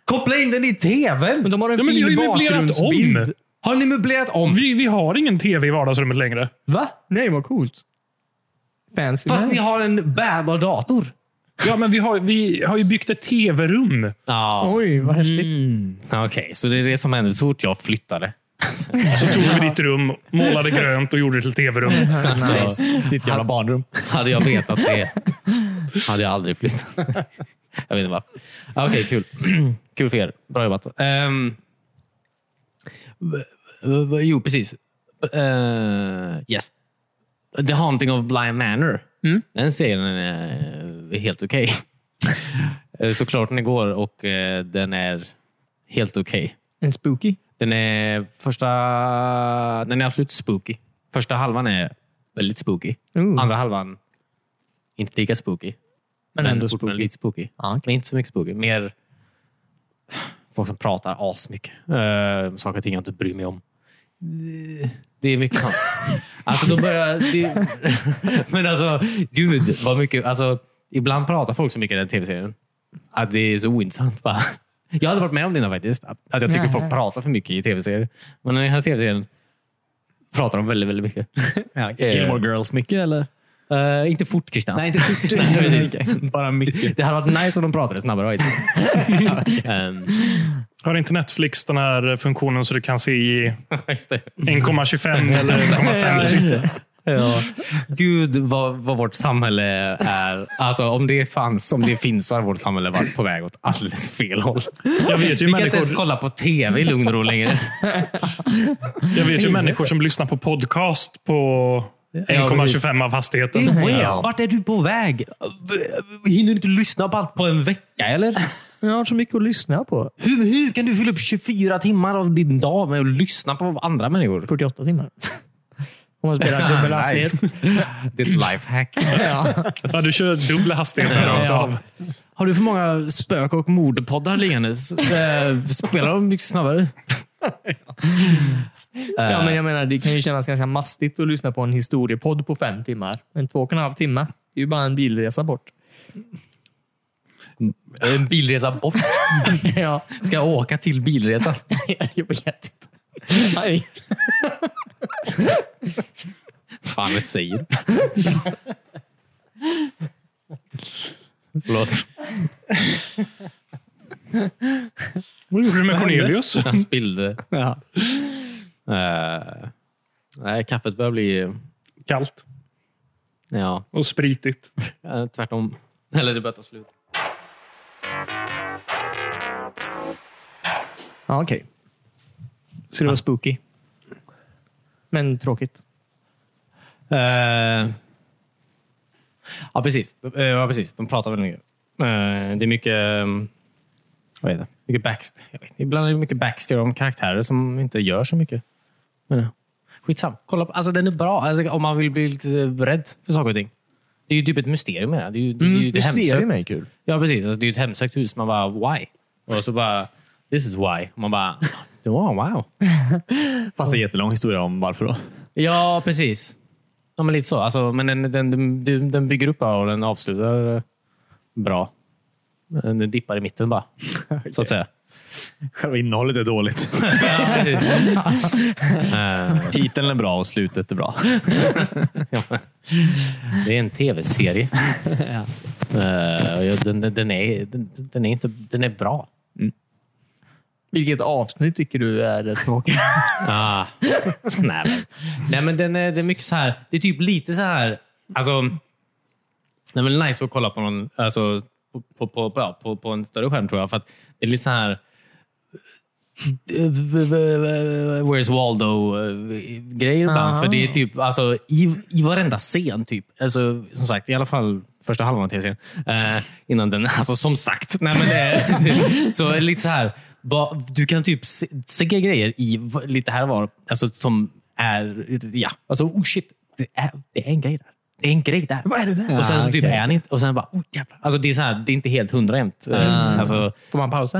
Speaker 4: Koppla in den i
Speaker 1: Men
Speaker 4: tvn!
Speaker 1: de har en
Speaker 3: Ja, men vi
Speaker 1: fin
Speaker 3: har ju möblerat
Speaker 1: bakgrundsbild.
Speaker 3: om.
Speaker 4: Har ni möblerat om?
Speaker 3: Vi, vi har ingen tv i vardagsrummet längre.
Speaker 1: Va? Nej, vad coolt. Fancy
Speaker 4: Fast
Speaker 1: man.
Speaker 4: ni har en bärbar dator.
Speaker 3: Ja, men vi har, vi har ju byggt ett tv-rum.
Speaker 4: Ja.
Speaker 1: Oj, vad häftigt.
Speaker 4: Okej, så det är det som hände så fort jag flyttade.
Speaker 3: Så tog vi ditt rum, målade grönt och gjorde det till tv-rum.
Speaker 4: Nice.
Speaker 2: Ditt jävla barnrum.
Speaker 4: Hade jag vetat det hade jag aldrig flyttat. Jag vet inte varför. Ja, Okej, kul. Kul för er. Bra jobbat. Ehm, v- v- jo, precis. Eh, yes. The Haunting of Blind Manor. Den serien är helt okej. Eh, Såklart den går och eh, den är helt okej.
Speaker 1: En spooky.
Speaker 4: Den är första... Den är absolut spooky. Första halvan är väldigt spooky.
Speaker 1: Ooh.
Speaker 4: Andra halvan, inte lika spooky.
Speaker 1: Men ändå
Speaker 4: fortfarande
Speaker 1: spooky.
Speaker 4: lite spooky.
Speaker 1: Ja, okej.
Speaker 4: Men inte så mycket spooky. Mer folk som pratar asmycket. Uh, saker och ting jag inte bryr mig om. Det är mycket sånt. alltså, de börjar... Det, men alltså, gud vad mycket... Alltså, ibland pratar folk så mycket i den tv-serien att det är så ointressant. Bara. Jag hade varit med om det innan faktiskt. Att att jag tycker
Speaker 1: Nej.
Speaker 4: folk pratar för mycket i tv-serier. Men i den här tv-serien pratar de väldigt, väldigt mycket.
Speaker 2: Ja,
Speaker 4: Eh.
Speaker 2: Gilmore Girls mycket eller?
Speaker 4: Eh, inte fort Christian. Nej, inte fort.
Speaker 2: Bara mycket.
Speaker 4: det hade varit nice om de pratade snabbare. Ehm,
Speaker 3: Har inte Netflix den här funktionen så du kan se i
Speaker 4: just det. Mm.
Speaker 3: 1,25 eller 1,5?
Speaker 4: Ja. Gud vad, vad vårt samhälle är. Alltså om det fanns, om det finns så har vårt samhälle varit på väg åt alldeles fel håll.
Speaker 3: Jag vet ju
Speaker 4: Vi kan inte ens
Speaker 3: människor,
Speaker 4: kolla på tv i lugn och ro längre.
Speaker 3: jag vet ju människor som lyssnar på podcast på
Speaker 4: precis.
Speaker 3: 1,25 av
Speaker 4: Det är
Speaker 3: hastigheten.
Speaker 4: weird. Vart är du på väg? Hinner du inte lyssna på allt på en vecka eller?
Speaker 1: Jag har så mycket att lyssna på.
Speaker 4: Hur, hur kan du fylla upp 24 timmar av din dag med att lyssna på andra människor?
Speaker 1: 48 timmar. Om man spelar dubbel hastighet.
Speaker 4: Det är ett lifehack.
Speaker 1: Ja.
Speaker 3: Ja, du kör dubbla hastigheter
Speaker 4: Ja.
Speaker 3: rakt av.
Speaker 4: Har du för många spök och mordpoddar liggandes? Eh, Spelar de mycket snabbare?
Speaker 1: ja, men jag menar, det kan ju kännas ganska mastigt att lyssna på en historiepodd på fem timmar. Men två och en halv timme, det är ju bara en bilresa bort.
Speaker 4: Eh, En bilresa bort.
Speaker 1: ja,
Speaker 4: Ska jag åka till bilresan?
Speaker 1: jag vet inte. Nej.
Speaker 4: Fan, jag säger. Förlåt.
Speaker 3: Vad gjorde du med Cornelius?
Speaker 4: Jag spillde. Eh, nej, kaffet börjar bli...
Speaker 3: Kallt
Speaker 4: Ja,
Speaker 3: och spritigt.
Speaker 4: eh, tvärtom. Eller det börjar ta slut.
Speaker 1: Ja, okej. Så det var spooky. Men tråkigt.
Speaker 4: Eh, ja, precis. Eh, ja, precis. De pratar väldigt mycket. Eh, det är mycket... ehm, vad heter det? Mycket backst- jag vet, inte. ibland är det mycket backstory om karaktärer som inte gör så mycket. Men, uh, skitsam. Kolla på, alltså, den är bra alltså, om man vill bli lite rädd för saker och ting. Det är ju typ ett mysterium. Med det. Det är ju, det, är ju det hemsökt.
Speaker 1: mig kul.
Speaker 4: Ja, precis. Alltså, Mm, det är ju ett hemsökt hus. Man bara, why? Och så bara, this is why. Och man bara, wow, wow.
Speaker 2: Fast en jättelång historia om varför då.
Speaker 4: Ja, precis. Ja, men lite så. Alltså, men den, den, den, den bygger upp bra och den avslutar eh, bra. Den dippar i mitten bara, så att säga.
Speaker 2: Själva innehållet är dåligt.
Speaker 4: Eh,
Speaker 2: Titeln är bra och slutet är bra.
Speaker 4: ja, men det är en tv-serie. Eh, och jag- den, den, är, den, den, är inte, den är bra.
Speaker 1: Vilket avsnitt tycker du är det tråkiga?
Speaker 4: Ah. Nej, men, nej, men den är, det är mycket så här. Det är typ lite så här. Alltså, det är väl nice att kolla på någon, alltså, på, på, på, på, på, på en större skärm tror jag. För att det är lite så här. Where's Waldo-grejer ibland.
Speaker 1: Ah.
Speaker 4: För det är typ alltså, i, i varenda scen. typ alltså, Som sagt, i alla fall första halvan av tv-serien. Eh, innan den, alltså som sagt. Nej, men det, är- det, så är det lite så här. Ba, du kan typ se, se grejer i v- lite här och var. Alltså som är, ja. Alltså oh shit. Det är, det är en grej där. Det är en grej där. Vad är det där? Och sen
Speaker 2: Ah,
Speaker 4: så typ
Speaker 2: okej. Ah.
Speaker 4: är han inte. Och sen bara, oh jävlar. Alltså det är så här, det är inte helt hundra jämt. Eh, Alltså,
Speaker 1: Får man pausa?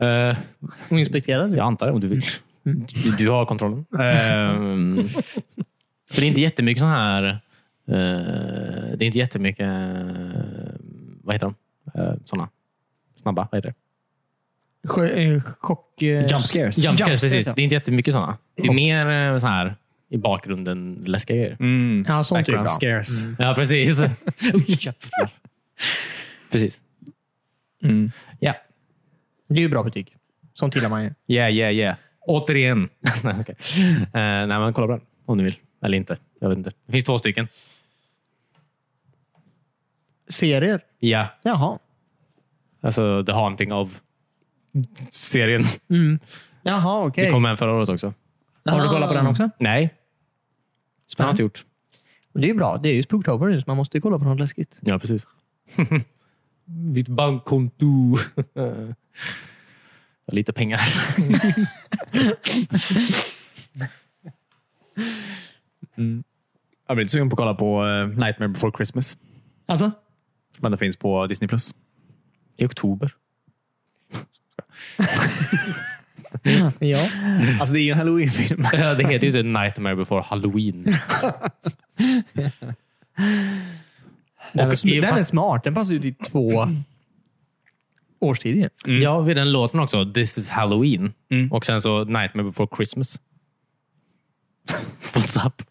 Speaker 1: typ.
Speaker 4: eh,
Speaker 1: Och inspektera?
Speaker 4: jag antar det om du vill. Du, du har kontrollen. Ehm, för det är inte jättemycket sån här... eh, det är inte jättemycket... eh, vad heter de? Uh, såna snabba. Vad heter det?
Speaker 1: Chock... eh,
Speaker 2: Jump scares. Oh.
Speaker 4: Jump scares,
Speaker 1: Jump
Speaker 4: precis.
Speaker 1: scares, ja.
Speaker 4: Det är inte jättemycket såna. Det är mer eh, så här i bakgrunden läskiga grejer. Mm.
Speaker 2: Mm.
Speaker 1: Ja, sånt är ju
Speaker 2: Background
Speaker 1: bra.
Speaker 2: scares. Oh,
Speaker 4: Ja, precis. Oj, jävlar. precis.
Speaker 2: Mm.
Speaker 4: Ja.
Speaker 1: Det är ju bra betyg. Sånt gillar man ju.
Speaker 4: Yeah, yeah, yeah. Återigen. nej, okej. Eh, nej, men kolla på den om du vill. Eller inte. Jag vet inte. Det finns två stycken.
Speaker 1: Serier?
Speaker 4: Ja.
Speaker 1: Jaha.
Speaker 4: Alltså The Haunting of serien.
Speaker 1: Jaha, okej.
Speaker 4: Det kom en förra året också.
Speaker 1: Har du kollat på den också?
Speaker 4: Nej. Det har jag inte gjort.
Speaker 1: Det är ju bra. Det är ju Spooktober nu, så man måste ju kolla på något läskigt.
Speaker 4: Ja, precis. Mitt bankkonto. Jag har Lite pengar.
Speaker 2: Jag blir lite sugen på att kolla på eh, Nightmare before Christmas.
Speaker 1: Alltså?
Speaker 2: Men det finns på Disney+. Plus.
Speaker 4: I oktober.
Speaker 1: Ja.
Speaker 2: Alltså det är ju en halloween-film.
Speaker 4: Ja, det heter ju inte Nightmare before Halloween.
Speaker 1: Den, är,
Speaker 4: Och i-
Speaker 1: sm- den är
Speaker 4: fast-
Speaker 1: smart. Den passar ju till två årstider.
Speaker 4: Ja, vid den låten också. This is Halloween. Och sen så Nightmare before Christmas. What's up?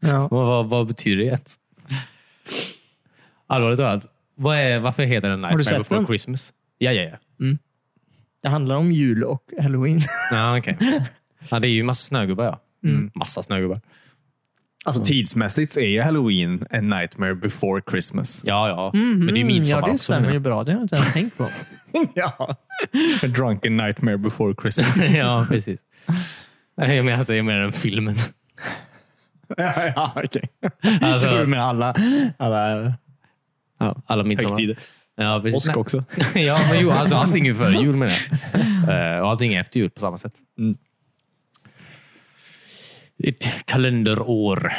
Speaker 1: Ja.
Speaker 4: Vad, vad, vad betyder det ens? Allvarligt talat. Vad är, varför heter den
Speaker 1: du
Speaker 4: Nightmare
Speaker 1: sett
Speaker 4: before
Speaker 1: den?
Speaker 4: Christmas? Ja, ja, ja.
Speaker 1: Det handlar om jul och halloween.
Speaker 4: Ja, okej. ja, det är ju massa snögubbar, ja. Mm, Massa snögubbar.
Speaker 2: Alltså tidsmässigt så är ju halloween en Nightmare before Christmas.
Speaker 4: Ja, ja. Men det är ju midsommar
Speaker 1: Ja, det
Speaker 4: också.
Speaker 1: stämmer ju bra. Det har jag inte ens tänkt på.
Speaker 2: ja. A drunken nightmare before Christmas.
Speaker 4: ja, precis. Nej, Jag menar att det är mer än filmen.
Speaker 2: ja, ja, okej.
Speaker 4: Alltså-
Speaker 2: Tror du med alla, alla
Speaker 4: Alla midsommar.
Speaker 2: högtider?
Speaker 4: Ja, precis.
Speaker 2: Påsk också.
Speaker 4: ja, men jo, alltså, allting är före jul menar jag. Eh, Och allting är efter jul på samma sätt.
Speaker 2: Mm.
Speaker 4: Ett kalenderår.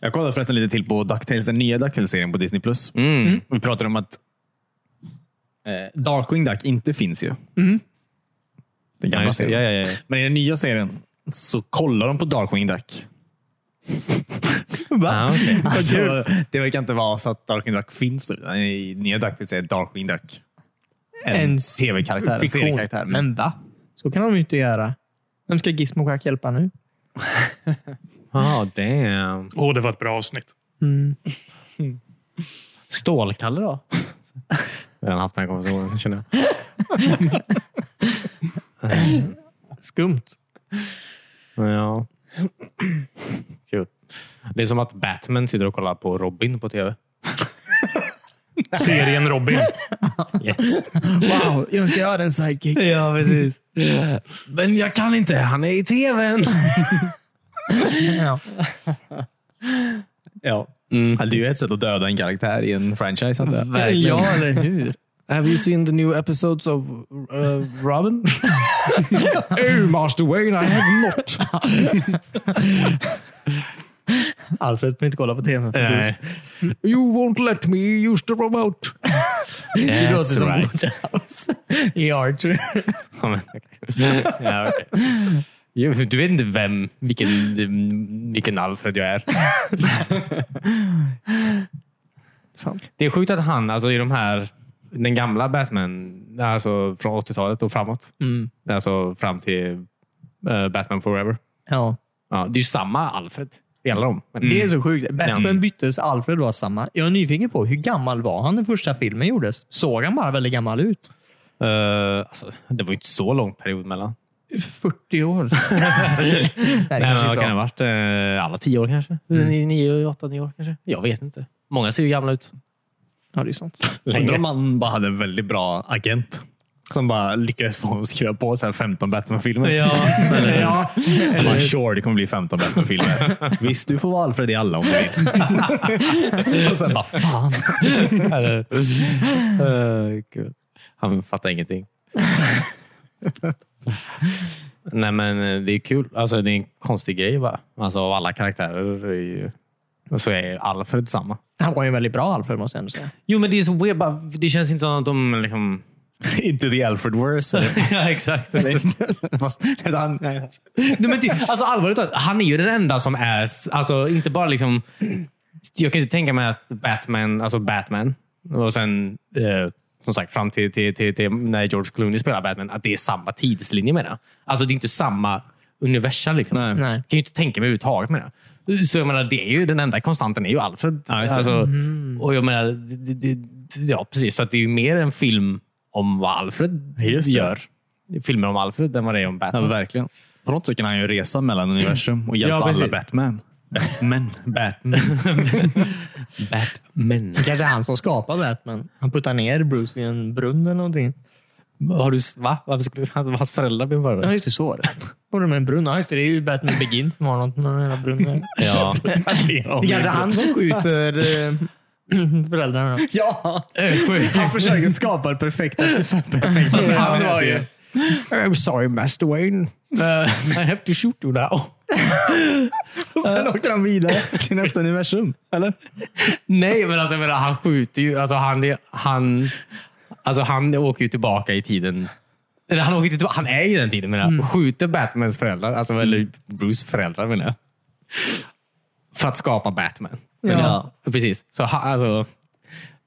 Speaker 2: Jag kollade förresten lite till på DuckTales, den nya DuckTales-serien på Disney+. Plus.
Speaker 4: Mm.
Speaker 2: Vi pratade om att eh, Darkwing Duck inte finns ju. Den
Speaker 4: Ja,
Speaker 2: gamla
Speaker 4: just det.
Speaker 2: serien.
Speaker 4: ja, ja, ja.
Speaker 2: Men i den nya serien så kollar de på Darkwing Duck. Va?
Speaker 4: Ah, okej.
Speaker 2: alltså, det verkar inte vara så att Darkwing Duck finns. nu. Nej, I nya DuckTales är Darkwing Duck en, tv-karaktär, en
Speaker 1: fiktion.
Speaker 2: seriekaraktär. Men
Speaker 1: Men va? Så kan de ju inte göra. Vem ska Gizmo Jack hjälpa nu?
Speaker 4: Ah, damn.
Speaker 3: Åh, det var ett bra avsnitt.
Speaker 4: Stålkalle då? Jag har redan haft den här konversationen, känner jag.
Speaker 1: Skumt.
Speaker 4: Men Ja. Kul. Det är som att Batman sitter och kollar på Robin på tv.
Speaker 3: Serien Robin.
Speaker 4: Yes.
Speaker 1: Wow, jag önskar jag hade en sidekick.
Speaker 4: ja, precis. Men jag kan inte. Han är i tvn.
Speaker 1: Ja.
Speaker 2: ja.
Speaker 4: Mm.
Speaker 2: Ja, alltså, Det är ju ett sätt att döda en karaktär i en franchise. Inte?
Speaker 1: ja, eller hur?
Speaker 4: Have you seen the new episodes of uh, Robin? oh, Master Wayne, I have not.
Speaker 1: Alfred får inte kolla på tv. För
Speaker 4: Nej. You won't let me use the remote.
Speaker 1: det låter
Speaker 4: That's
Speaker 1: som
Speaker 4: right.
Speaker 1: Woodhouse i Archer.
Speaker 4: ja, men, okej. ja, okej. Jag- Du vet inte vem, vilken, vilken Alfred jag är.
Speaker 1: Fan.
Speaker 4: Det är sjukt att han, alltså i de här, den gamla Batman, alltså från 80-talet och framåt,
Speaker 1: Mm.
Speaker 4: alltså fram till eh, Batman Forever.
Speaker 1: Ja.
Speaker 4: Ja, det är ju samma Alfred i alla dem. Men
Speaker 2: Mm.
Speaker 1: Det är så
Speaker 4: Mm.
Speaker 1: sjukt. Batman
Speaker 4: Den-
Speaker 1: byttes, Alfred var samma. Jag är nyfiken på hur gammal var han när första filmen gjordes? Såg han bara väldigt gammal ut?
Speaker 4: eh, alltså, det var ju inte så lång period mellan.
Speaker 1: 40 år. Nej, det
Speaker 4: Nej,
Speaker 1: kanske
Speaker 4: men
Speaker 1: inte
Speaker 4: vad kan
Speaker 1: var.
Speaker 4: det ha varit? Eh, Alla tio år kanske? Nio, nio, åtta, nio år kanske? Jag vet inte. Många ser ju gamla ut.
Speaker 1: Ja, det är sant.
Speaker 2: Undrar om han bara hade en väldigt bra agent som bara lyckades få honom att skriva på så här 15 Batman-filmer.
Speaker 1: Eller, ja.
Speaker 2: Han bara, sure, det kommer bli 15 Batman-filmer. Visst, du får vara Alfred i alla om du vill. Och sen bara, fan.
Speaker 4: Eh, gud. Han fattar ingenting. Nej, men eh, det är kul. Alltså, det är en konstig grej. Va? Alltså, av alla karaktärer är ju, så är Alfred samma.
Speaker 1: Han var ju en väldigt bra Alfred måste jag ändå säga.
Speaker 4: Jo, men det är så weird. bara- Det känns inte som att de... Liksom...
Speaker 2: Inte the Alfred worse.
Speaker 4: ja, exakt.
Speaker 2: Fast, han, nej, alltså.
Speaker 4: Nej, men det, alltså allvarligt talat, han är ju den enda som är... s- Alltså inte bara liksom... Jag kan inte tänka mig att Batman, alltså Batman, och sen eh, som sagt fram till, till, till, till när George Clooney spelar Batman, att det är samma tidslinje med det. Alltså det är inte samma universum. Liksom.
Speaker 2: Nej.
Speaker 1: Nej.
Speaker 4: Jag kan ju inte tänka mig överhuvudtaget med det. Så jag menar, det är ju, den enda konstanten är ju Alfred.
Speaker 2: just det.
Speaker 4: alltså, Och jag menar, det, det, det- ja precis. Så att det är ju mer en film om vad Alfred
Speaker 2: Just det.
Speaker 4: gör. Filmer om Alfred än vad det är om
Speaker 2: Ja,
Speaker 4: Batman.
Speaker 2: verkligen. På något sätt kan han ju resa mellan universum och hjälpa
Speaker 4: Ja, precis.
Speaker 2: alla Batman. Batman. Batman.
Speaker 4: Batman.
Speaker 1: Kanske han som skapade Batman. Han puttar ner Bruce i en brunn eller någonting.
Speaker 4: Har du, va? Varför skulle han, hans föräldrar bli
Speaker 1: Ja,
Speaker 4: mördare?
Speaker 1: just det. Så var det. Var det med en brunn? Ja, just det. Det är ju Batman Begins som har något med någon jävla brunn. där.
Speaker 4: Ja.
Speaker 1: Det är kanske han som skjuter eh, föräldrarna.
Speaker 2: Ja! Han försöker skapa det perfekta. perfekta
Speaker 4: Han var ju... I'm sorry, Master Wayne. Uh, I have to shoot you now.
Speaker 2: Sen åkte han vidare till nästa universum. Eller?
Speaker 4: Nej, men alltså, jag menar, han skjuter ju. Alltså han, han, alltså, han åker ju tillbaka i tiden. Eller, han, åker ju tillbaka, han är i den tiden, menar jag.
Speaker 2: Mm.
Speaker 4: Och skjuter Batmans föräldrar. Alltså, eller Bruce föräldrar, menar jag. För att skapa Batman. Men,
Speaker 1: Ja.
Speaker 4: Precis. Så han, alltså,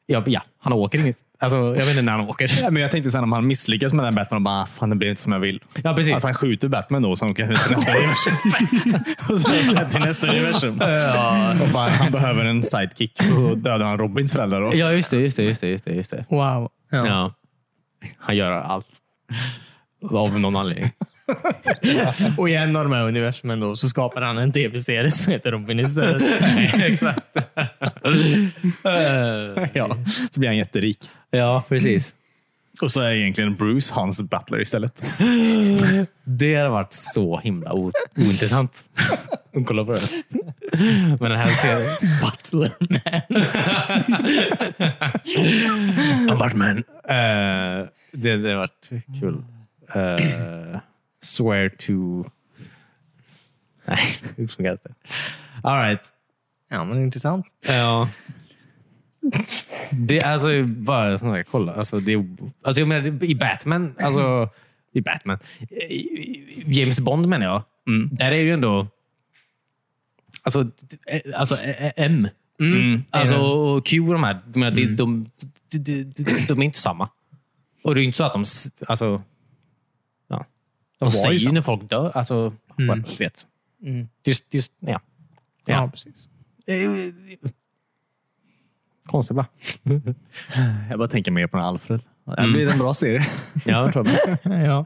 Speaker 4: ja, ja, han åker inget. Alltså, jag vet inte när han åker.
Speaker 2: Ja, men jag tänkte sen om han misslyckas med den här Batman och bara, "Ah, fan det blev inte som jag vill.
Speaker 4: Ja, precis.
Speaker 2: Att Alltså, han skjuter Batman då och sen åker han ut till nästa universum. och sen åker han till nästa universum. Och bara, han behöver en sidekick. Så dödar han Robins föräldrar då.
Speaker 4: Ja, just det. Just det, just det, just det, just det.
Speaker 1: Wow. Ja.
Speaker 4: Ja. Han gör allt. Av någon anledning.
Speaker 1: Och i en av de här universumen då, så skapar han en tv-serie som heter Robin istället.
Speaker 4: Exakt.
Speaker 2: Ja, så blir han jätterik.
Speaker 4: ja, precis.
Speaker 2: Och så är egentligen Bruce hans butler istället.
Speaker 4: Det har varit så himla o- ointressant att kolla på det. Men den här serien...
Speaker 1: Butler Man.
Speaker 4: Batman. Eh, det, det har varit kul. Eh, swear to... Nej, hur funkar det? All right.
Speaker 1: Ja, men intressant.
Speaker 4: Ja. Det är alltså bara sån här, kolla. Alltså, det, är- alltså jag menar, det- i Batman, alltså i Batman, i- i- James Bond menar jag. Där är det ju ändå, alltså, eh, alltså eh, eh, M. Alltså och Q och de här, jag menar, det- de, de, de, de, de är inte samma. Och det är ju inte så att de, s- alltså, ja. De
Speaker 2: var ju
Speaker 4: säger ju
Speaker 2: samma.
Speaker 4: när folk dör, alltså, mm. du vet. Just, just, ja.
Speaker 1: Ja,
Speaker 4: Ja.
Speaker 1: precis.
Speaker 4: Konstigt va?
Speaker 2: Jag bara tänker mer på den här Alfred. Det här blir en bra serie.
Speaker 4: Ja, jag tror det.
Speaker 1: Ja.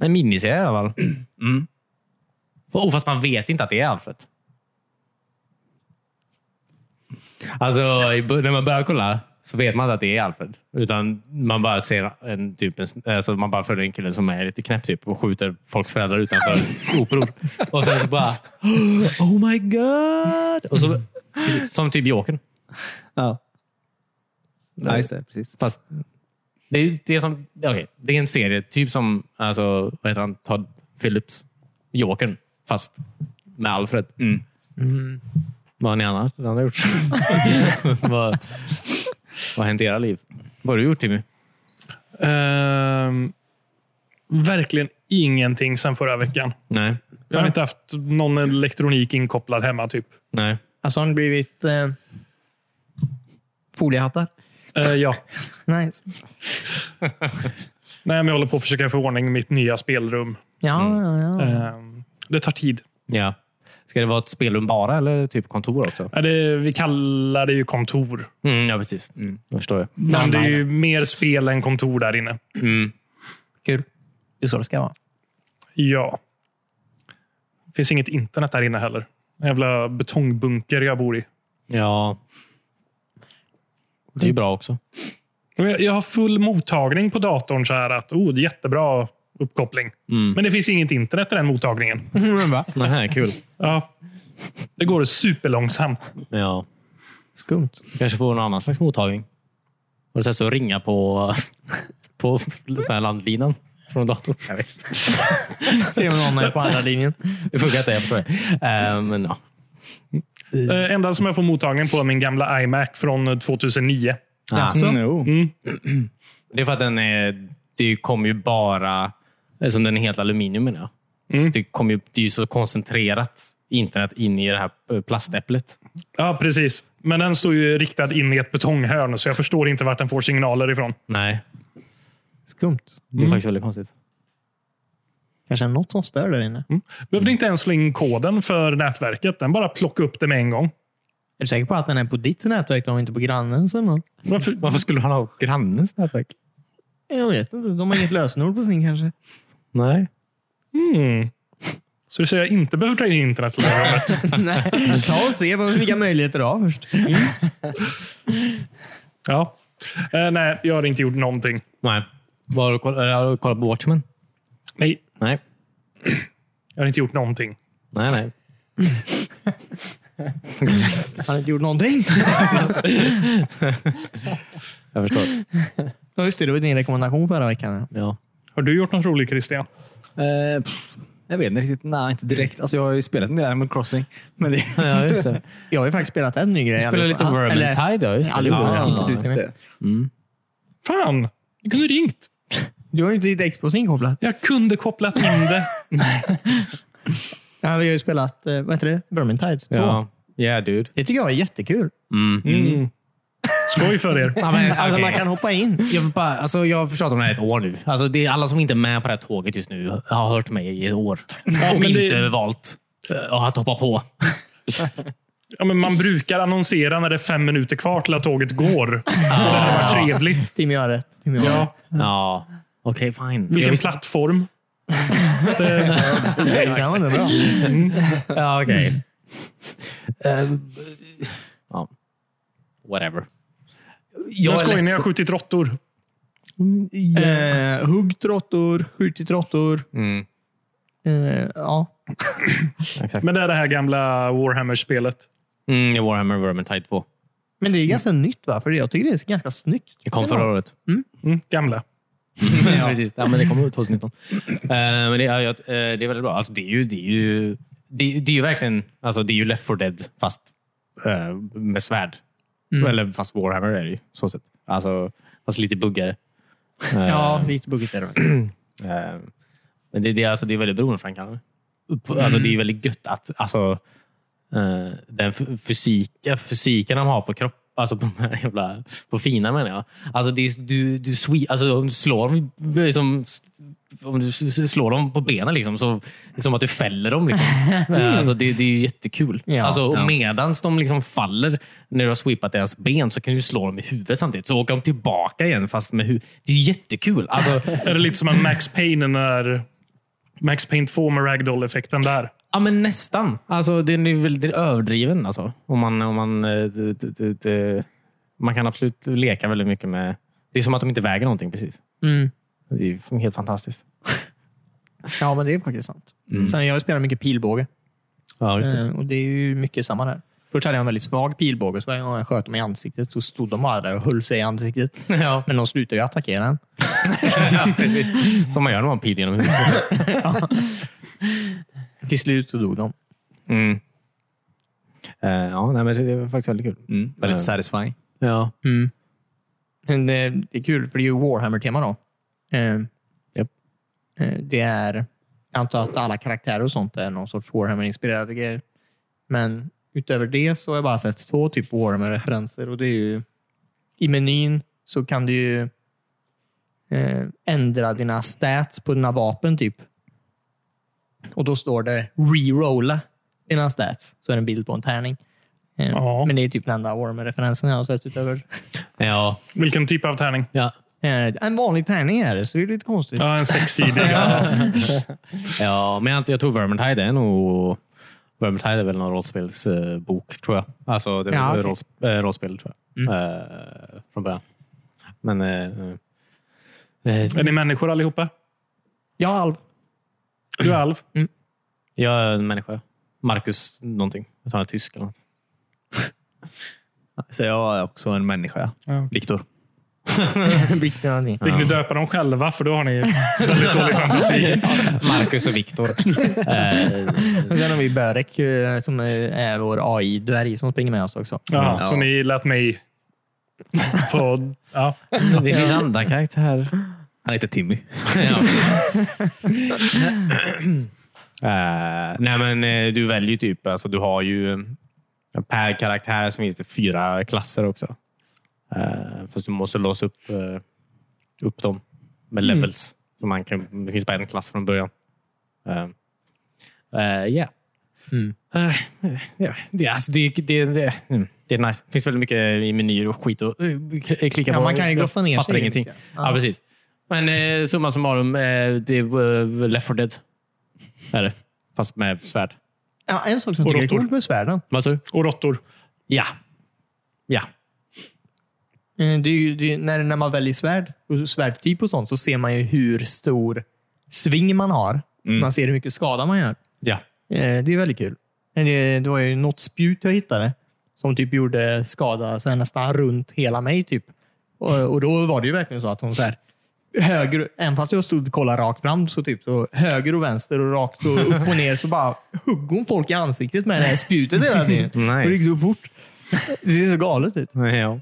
Speaker 4: En miniserie i alla fall. Oh, fast man vet inte att det är Alfred. Alltså, i bör- när man börjar kolla så vet man inte att det är Alfred. Utan man bara ser en typ, en, alltså man bara följer en kille som är lite knäpp typ, och skjuter folks föräldrar utanför operor. Och sen så bara Oh my god! Och så, precis, som typ Jokern.
Speaker 2: Ja. Nice, precis.
Speaker 4: Fast det är ju det som... okej, det är en serie, typ som alltså, vad heter han? Todd Phillips Jokern, fast med Alfred. Mm. Vad har ni annars vad har ni gjort? vad, vad har hänt i era liv? Vad har du gjort Timmy?
Speaker 3: Ehm, verkligen ingenting sen förra veckan.
Speaker 4: Nej.
Speaker 3: Jag har inte haft någon elektronik inkopplad hemma. typ.
Speaker 4: Nej.
Speaker 1: Alltså har ni blivit eh, foliehattar?
Speaker 3: Eh, ja.
Speaker 1: Nice.
Speaker 3: Nej, men jag håller på att försöka få ordning i mitt nya spelrum.
Speaker 1: Ja, ja, ja.
Speaker 3: Eh, det tar tid.
Speaker 4: Ja. Ska det vara ett spelrum bara eller typ kontor också?
Speaker 3: Nej, det, vi kallar det ju kontor,
Speaker 4: Mm, ja, precis. Mm, jag förstår det.
Speaker 3: men det är ju mer spel än kontor där inne.
Speaker 1: Kul. Det är så det ska vara.
Speaker 3: Ja. finns inget internet där inne heller. En jävla betongbunker jag bor i.
Speaker 4: Ja. Det är ju bra också.
Speaker 3: Men Jag jag har full mottagning på datorn. så här att oh, det är Jättebra uppkoppling. Men det finns inget internet i den mottagningen.
Speaker 4: Nej, kul.
Speaker 3: Ja. Det går superlångsamt.
Speaker 4: Ja.
Speaker 1: Skumt.
Speaker 4: kanske får någon annan slags mottagning. Har du testat att ringa på, på sån här landlinan från datorn? Jag vet inte.
Speaker 1: Se om någon är på andra linjen.
Speaker 4: Det funkar inte, jag förstår det. Eh, men ja.
Speaker 3: Eh, enda som jag får mottagning på är min gamla iMac från eh, 2009.
Speaker 4: Ah.
Speaker 1: Mm.
Speaker 2: No.
Speaker 4: Det är för att den är, det kommer ju bara... Eftersom den är helt aluminium menar jag. Så det, kommer ju, det är ju så koncentrerat internet in i det här eh, plastäpplet.
Speaker 3: Ja, precis. Men den står ju riktad in i ett betonghörn, så jag förstår inte vart den får signaler ifrån.
Speaker 4: Nej,
Speaker 1: Skumt.
Speaker 4: det är faktiskt väldigt konstigt.
Speaker 1: Kanske något som stör där inne.
Speaker 3: Behövde inte ens slå in koden för nätverket. Den bara plockade upp det med en gång.
Speaker 1: Är du säker på att den är på ditt nätverk och inte på grannens? Eller något?
Speaker 3: Varför?
Speaker 4: Varför skulle han ha grannens nätverk?
Speaker 1: Jag vet inte. De har inget lösenord på sin kanske.
Speaker 4: Nej.
Speaker 3: Mm. Så du säger jag inte behöver dra in internet till det här rummet?
Speaker 1: Nej. Ta och se vad- vilka möjligheter du har först.
Speaker 3: Ja. Eh, nej, jag har inte gjort någonting.
Speaker 4: Nej. Var har, du koll, eller har du kollat på Watchmen?
Speaker 3: Nej,
Speaker 4: Nej.
Speaker 3: jag har inte gjort någonting.
Speaker 4: Nej, nej.
Speaker 1: Han har inte gjort någonting.
Speaker 4: Jag förstår.
Speaker 1: Ja, just det. Det var din rekommendation förra veckan.
Speaker 4: Ja.
Speaker 3: Har du gjort något roligt, Christian?
Speaker 5: Eh, pff, jag vet inte riktigt. Nej, inte direkt. Alltså, jag har ju spelat en del Animal Crossing. Men det...
Speaker 4: Ja, just det.
Speaker 1: Jag har ju faktiskt spelat en ny grej.
Speaker 4: Spelar lite
Speaker 1: allihopa. Eller-
Speaker 4: Vermintide, ja. Just det.
Speaker 1: Allihopa,
Speaker 4: ja,
Speaker 1: inte du.
Speaker 4: ja.
Speaker 5: Just det.
Speaker 3: Fan! Jag kunde ringt.
Speaker 1: Du har ju inte ditt Xbox inkopplat.
Speaker 3: Jag kunde kopplat in det.
Speaker 1: Ja, vi har ju spelat, eh, vad heter det? Vermintide 2.
Speaker 4: Ja. Yeah, dude.
Speaker 1: Det tycker jag är jättekul.
Speaker 3: Mm. Skoj för er.
Speaker 4: Ja, men,
Speaker 1: Alltså
Speaker 4: Mm, okej.
Speaker 1: man kan hoppa in.
Speaker 4: Jag, vill bara, alltså, jag har pratat om det här i ett år nu. Alltså, det är alla som inte är med på det här tåget just nu har hört mig i ett år.
Speaker 3: men
Speaker 4: och
Speaker 3: det-
Speaker 4: inte valt eh, att hoppa på.
Speaker 3: Ja, men man brukar annonsera när det är fem minuter kvar till att tåget går. Det hade varit trevligt.
Speaker 1: Tim gör rätt. Tim gör rätt.
Speaker 4: Ja, okej, fine.
Speaker 3: Vilken plattform?
Speaker 1: Det kan vara bra.
Speaker 4: Ja, okej. Eh, ja. Whatever.
Speaker 3: Jag
Speaker 4: är
Speaker 3: skojar, ni
Speaker 4: ledsen.
Speaker 3: har skjutit råttor.
Speaker 1: Eh, huggt råttor, skjutit råttor.
Speaker 4: Mm.
Speaker 1: Eh, ja.
Speaker 3: Men det är det här gamla Warhammer-spelet.
Speaker 4: Mm, jag Warhammer Vermintide 2.
Speaker 1: Men det är ganska nytt va? För jag tycker det är ganska snyggt.
Speaker 4: Det kom förra året.
Speaker 3: Mm, gamla.
Speaker 4: ja. Precis. Ja, men det kom ut 2019. Eh, men det, är ju att, eh, det är väldigt bra. Alltså, det är ju, det är ju, det, det är ju verkligen alltså, det är ju Left 4 Dead fast eh, med svärd. Eller fast Warhammer är det ju. Så sett. Alltså, fast lite buggare. Eh,
Speaker 1: Ja, lite buggigt är det.
Speaker 4: eh, men det, det, är alltså, det är väldigt beroendeframkallande. Upp- Alltså, det är ju väldigt gött att alltså, eh, den f- fysik, fysiken de har på kropp Alltså på, de här jävla, på fina menar jag. Alltså det är, du, du, swe- alltså om du slår dem liksom, om du s- s- slår dem på benen liksom, så det är som att du fäller dem. Liksom. Eh, Alltså, det, det är ju jättekul.
Speaker 1: Ja,
Speaker 4: alltså, och Medans de liksom faller när du har sweepat deras ben så kan du slå dem i huvudet samtidigt. Så åker de tillbaka igen fast med huvudet. Det är jättekul. Alltså,
Speaker 3: Är det lite som en Max Payne när Max Payne 2 med ragdoll-effekten där?
Speaker 4: Ja, men nästan. Alltså, den är väldigt överdriven. Alltså. Om man, om man, eh, d- d- d- d- man kan absolut leka väldigt mycket med... Det är som att de inte väger någonting precis.
Speaker 1: Mm.
Speaker 4: Det är helt fantastiskt.
Speaker 1: Ja, men det är faktiskt sant. Sen jag spelar mycket pilbåge.
Speaker 4: Ja,
Speaker 1: Eh, Och det är ju mycket samma där. Först hade jag en väldigt svag pilbåge, så varje gång jag sköt dem i ansiktet så stod de bara där och höll sig i ansiktet.
Speaker 4: Ja.
Speaker 1: Men de slutade ju attackera en.
Speaker 4: Som man gör när man har pil genom huvudet.
Speaker 1: Till slut så dog de.
Speaker 4: Mm. Eh, ja, nej, men det var faktiskt väldigt kul.
Speaker 5: Mm. Väldigt satisfying.
Speaker 4: Ja.
Speaker 1: Men det, det är kul, för det är ju Warhammer-tema då. Eh,
Speaker 4: Japp.
Speaker 1: Eh, Det är, jag antar att alla karaktärer och sånt är någon sorts Warhammer-inspirerade grejer. Men utöver det så har jag bara sett två typ Warhammer-referenser och det är ju i menyn så kan du ju eh, ändra dina stats på dina vapen typ. Och då står det rerolla dina stats. Så är det en bild på en tärning. Eh,
Speaker 3: Ja.
Speaker 1: Men det är typ den enda Warhammer-referensen jag har sett utöver.
Speaker 4: Ja.
Speaker 3: Vilken typ av tärning?
Speaker 4: Ja.
Speaker 1: Eh, en vanlig tärning är det, så det är lite konstigt.
Speaker 3: Ja, en sexsidig. ja.
Speaker 4: ja, men jag, jag tror Vermintide är nog... Vermintide är väl någon rollspelsbok, tror jag. Alltså, det är
Speaker 1: Ja,
Speaker 4: ja,
Speaker 1: okej.
Speaker 4: rollspel, tror jag. Eh, från början. Men... eh, eh,
Speaker 3: Är ni människor allihopa?
Speaker 1: Ja, Alv.
Speaker 3: Du är alv.
Speaker 4: jag är en människa. Marcus någonting. Jag talar tysk eller något.
Speaker 5: Så jag är också en människa.
Speaker 3: Ja.
Speaker 5: Viktor.
Speaker 1: Viktigt att ni-
Speaker 3: Fick ni döpa dem själva? För då har ni väldigt dålig fantasi.
Speaker 4: Marcus och Viktor.
Speaker 1: Men Sen har vi Börek eh, som eh, är vår AI-dvärg som springer med oss också.
Speaker 3: Ja,
Speaker 5: Ja.
Speaker 3: Så ni lät mig... På, ja.
Speaker 4: det finns andra karaktärer.
Speaker 5: Han heter Timmy.
Speaker 4: ja. Eh, nej, men eh, du väljer ju typ, alltså du har ju eh, per karaktär så finns det fyra klasser också. Eh, fast du måste låsa upp, eh, upp dem
Speaker 1: Mm.
Speaker 4: med levels. Så man kan, det finns bara en klass från början. Eh, eh, Ja.
Speaker 1: Mm.
Speaker 4: Eh, ja, det, alltså, det, det, det, mm, det är nice. Det finns väldigt mycket i menyer och skit att eh, k- klicka
Speaker 1: Ja,
Speaker 4: på.
Speaker 1: man kan ju
Speaker 4: Jag
Speaker 1: goffa ner
Speaker 4: fattar
Speaker 1: sig.
Speaker 4: ingenting. Ja,
Speaker 1: Ja.
Speaker 4: precis. Men eh, summa summarum, eh, det är eh, Left 4 Dead. Är det. Fast med svärd.
Speaker 1: Ja, en sak som
Speaker 3: Och
Speaker 1: jag tycker är
Speaker 3: råttor.
Speaker 1: coolt med svärden,
Speaker 4: Vad sa du?
Speaker 3: Och råttor.
Speaker 4: Ja. Ja.
Speaker 1: eh, det är ju, det är, ju- när, när man väljer svärd och svärdtyp och sånt så ser man ju hur stor sving man har. Man ser hur mycket skada man gör.
Speaker 4: Mm. Ja.
Speaker 1: Eh, Det är väldigt kul. Men Det, det var ju något spjut jag hittade som typ gjorde skada så här, nästan runt hela mig. typ. Och, och då var det ju verkligen så att hon så här, höger, även fast jag stod och kollade rakt fram, så typ så höger och vänster och rakt och upp och ner så bara hugg hon folk i ansiktet med det här spjutet hela tiden.
Speaker 4: Nice.
Speaker 1: Och det gick så fort. Det ser så galet ut.
Speaker 4: ja.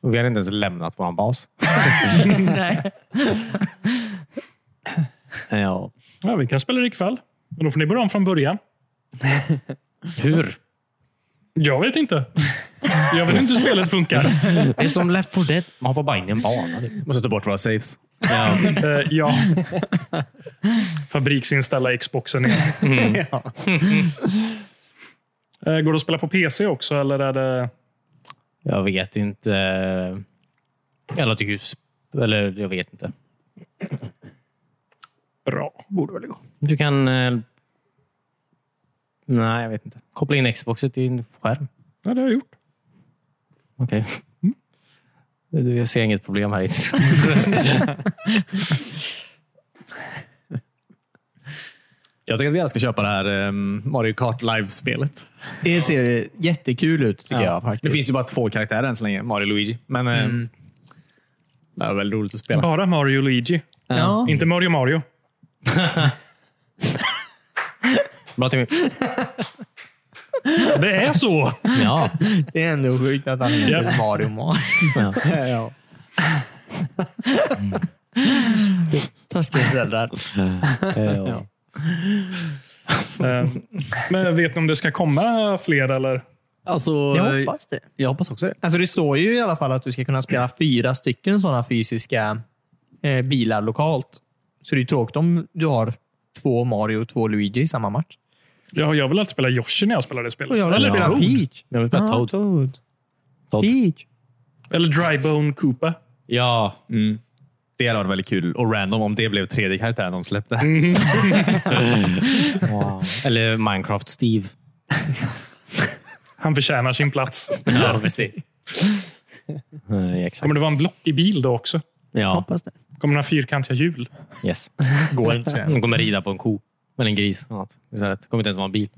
Speaker 4: Och vi hade inte ens lämnat vår bas.
Speaker 1: Nej.
Speaker 4: Ja.
Speaker 3: Ja, vi kan spela det ikväll. Men då får ni börja om från början.
Speaker 4: Hur?
Speaker 3: Jag vet inte. Jag vet inte hur spelet funkar.
Speaker 4: Det är som Left 4 Dead. Man hoppar bara in i en bana. typ.
Speaker 5: Måste ta bort våra saves.
Speaker 4: Ja.
Speaker 3: Eh, ja. Fabriksinställa Xboxen igen.
Speaker 1: Mm.
Speaker 3: Eh, Går det att spela på PC också? Eller är det...
Speaker 4: Jag vet inte. Eller tycker sp- Eller jag vet inte.
Speaker 3: Bra.
Speaker 1: Borde väl gå.
Speaker 4: Du kan... eh, Nej, jag vet inte. Koppla in Xboxet i en skärm.
Speaker 3: Ja, det har jag gjort.
Speaker 4: Okej. Du, Jag ser inget problem här.
Speaker 5: Jag tycker att vi alla ska köpa det här ehm, Mario Kart Live-spelet.
Speaker 1: Det ser jättekul ut tycker jag.
Speaker 5: Det
Speaker 1: faktiskt.
Speaker 5: finns ju bara två karaktärer än så länge, Mario och Luigi. Men ehm, det är väldigt roligt att spela.
Speaker 3: Bara Mario och Luigi.
Speaker 1: Ja.
Speaker 3: Inte Mario Mario.
Speaker 4: Bra Timmy.
Speaker 3: Det är så!
Speaker 4: Ja.
Speaker 1: Det är ändå sjukt att han heter
Speaker 3: Ja.
Speaker 1: Mario Mario.
Speaker 5: Ja.
Speaker 1: Taskiga föräldrar.
Speaker 4: ja.
Speaker 3: Eh, Men vet ni om det ska komma fler? Eller?
Speaker 5: Alltså,
Speaker 1: Jag hoppas det.
Speaker 5: jag hoppas också det.
Speaker 1: Alltså det står ju i alla fall att du ska kunna spela fyra stycken sådana fysiska eh, bilar lokalt. Så det är ju tråkigt om du har två Mario och två Luigi i samma match.
Speaker 3: Ja, jag vill alltid spela Yoshi när jag spelar det spelet.
Speaker 1: Och jag vill
Speaker 3: eller,
Speaker 1: spela Peach.
Speaker 4: Jag vill spela
Speaker 1: Ja,
Speaker 4: Toad.
Speaker 1: Toad.
Speaker 4: Todd.
Speaker 1: Peach.
Speaker 3: eller Drybone Koopa.
Speaker 4: Ja.
Speaker 5: Mm. Det hade varit väldigt kul och random om det blev tredje karaktären de släppte.
Speaker 4: Wow. Eller Minecraft Steve.
Speaker 3: Han förtjänar sin plats.
Speaker 4: Ja, precis. exakt.
Speaker 3: Kommer det vara en blockig bil då också?
Speaker 4: Ja.
Speaker 1: Hoppas det.
Speaker 3: Kommer några fyrkantiga hjul?
Speaker 4: Yes.
Speaker 1: Går inte.
Speaker 4: De kommer rida på en ko. Eller en gris. eller något. Istället. Kommer inte ens vara en bil.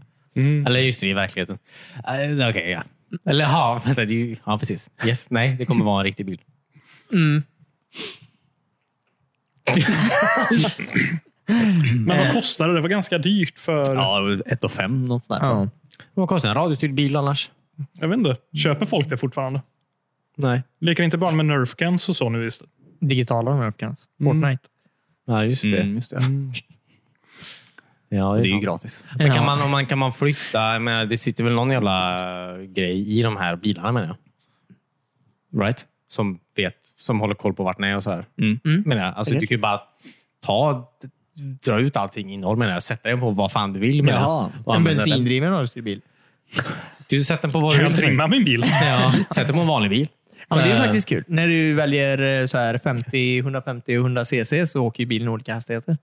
Speaker 4: Eller just det, i verkligheten. Eh, Okej, ja. Eller ja, vänta, det är ju- ja, precis. Yes, nej, det kommer vara en riktig bil.
Speaker 3: Men vad kostade det? Det var ganska dyrt för...
Speaker 5: Ja, ett och fem något sånt där.
Speaker 1: Ja.
Speaker 4: Vad kostar en radiostyrd bil annars?
Speaker 3: Jag vet inte. Köper folk det fortfarande?
Speaker 4: Nej.
Speaker 3: Leker inte barn med nerfguns och så nu istället?
Speaker 1: Digitala nerfguns. Fortnite.
Speaker 4: Ja, just det.
Speaker 5: Mm, just det.
Speaker 4: Ja, det är
Speaker 5: Det är ju
Speaker 4: sant.
Speaker 5: gratis.
Speaker 4: Men
Speaker 1: Ja.
Speaker 4: kan man, om man, kan man flytta? Jag menar, det sitter väl någon jävla eh, grej i de här bilarna menar jag. Right? Som vet, som håller koll på vart ni är och så här.
Speaker 5: Mm.
Speaker 4: Menar jag. Alltså, Du kan ju bara ta, dra ut allting innehåll menar jag. Sätta den på vad fan du vill menar
Speaker 5: Jaha.
Speaker 4: jag. Och
Speaker 1: En
Speaker 4: använda den.
Speaker 1: bensindriven rörelsebil.
Speaker 4: Du sätter den på vad du
Speaker 3: Kan jag
Speaker 4: vill.
Speaker 3: trimma min bil?
Speaker 4: Ja, sätt den på en vanlig bil.
Speaker 1: Ja, men det är
Speaker 4: Eh.
Speaker 1: faktiskt kul. När du väljer eh, så här 50, 150 och 100 cc så åker ju bilen olika hastigheter.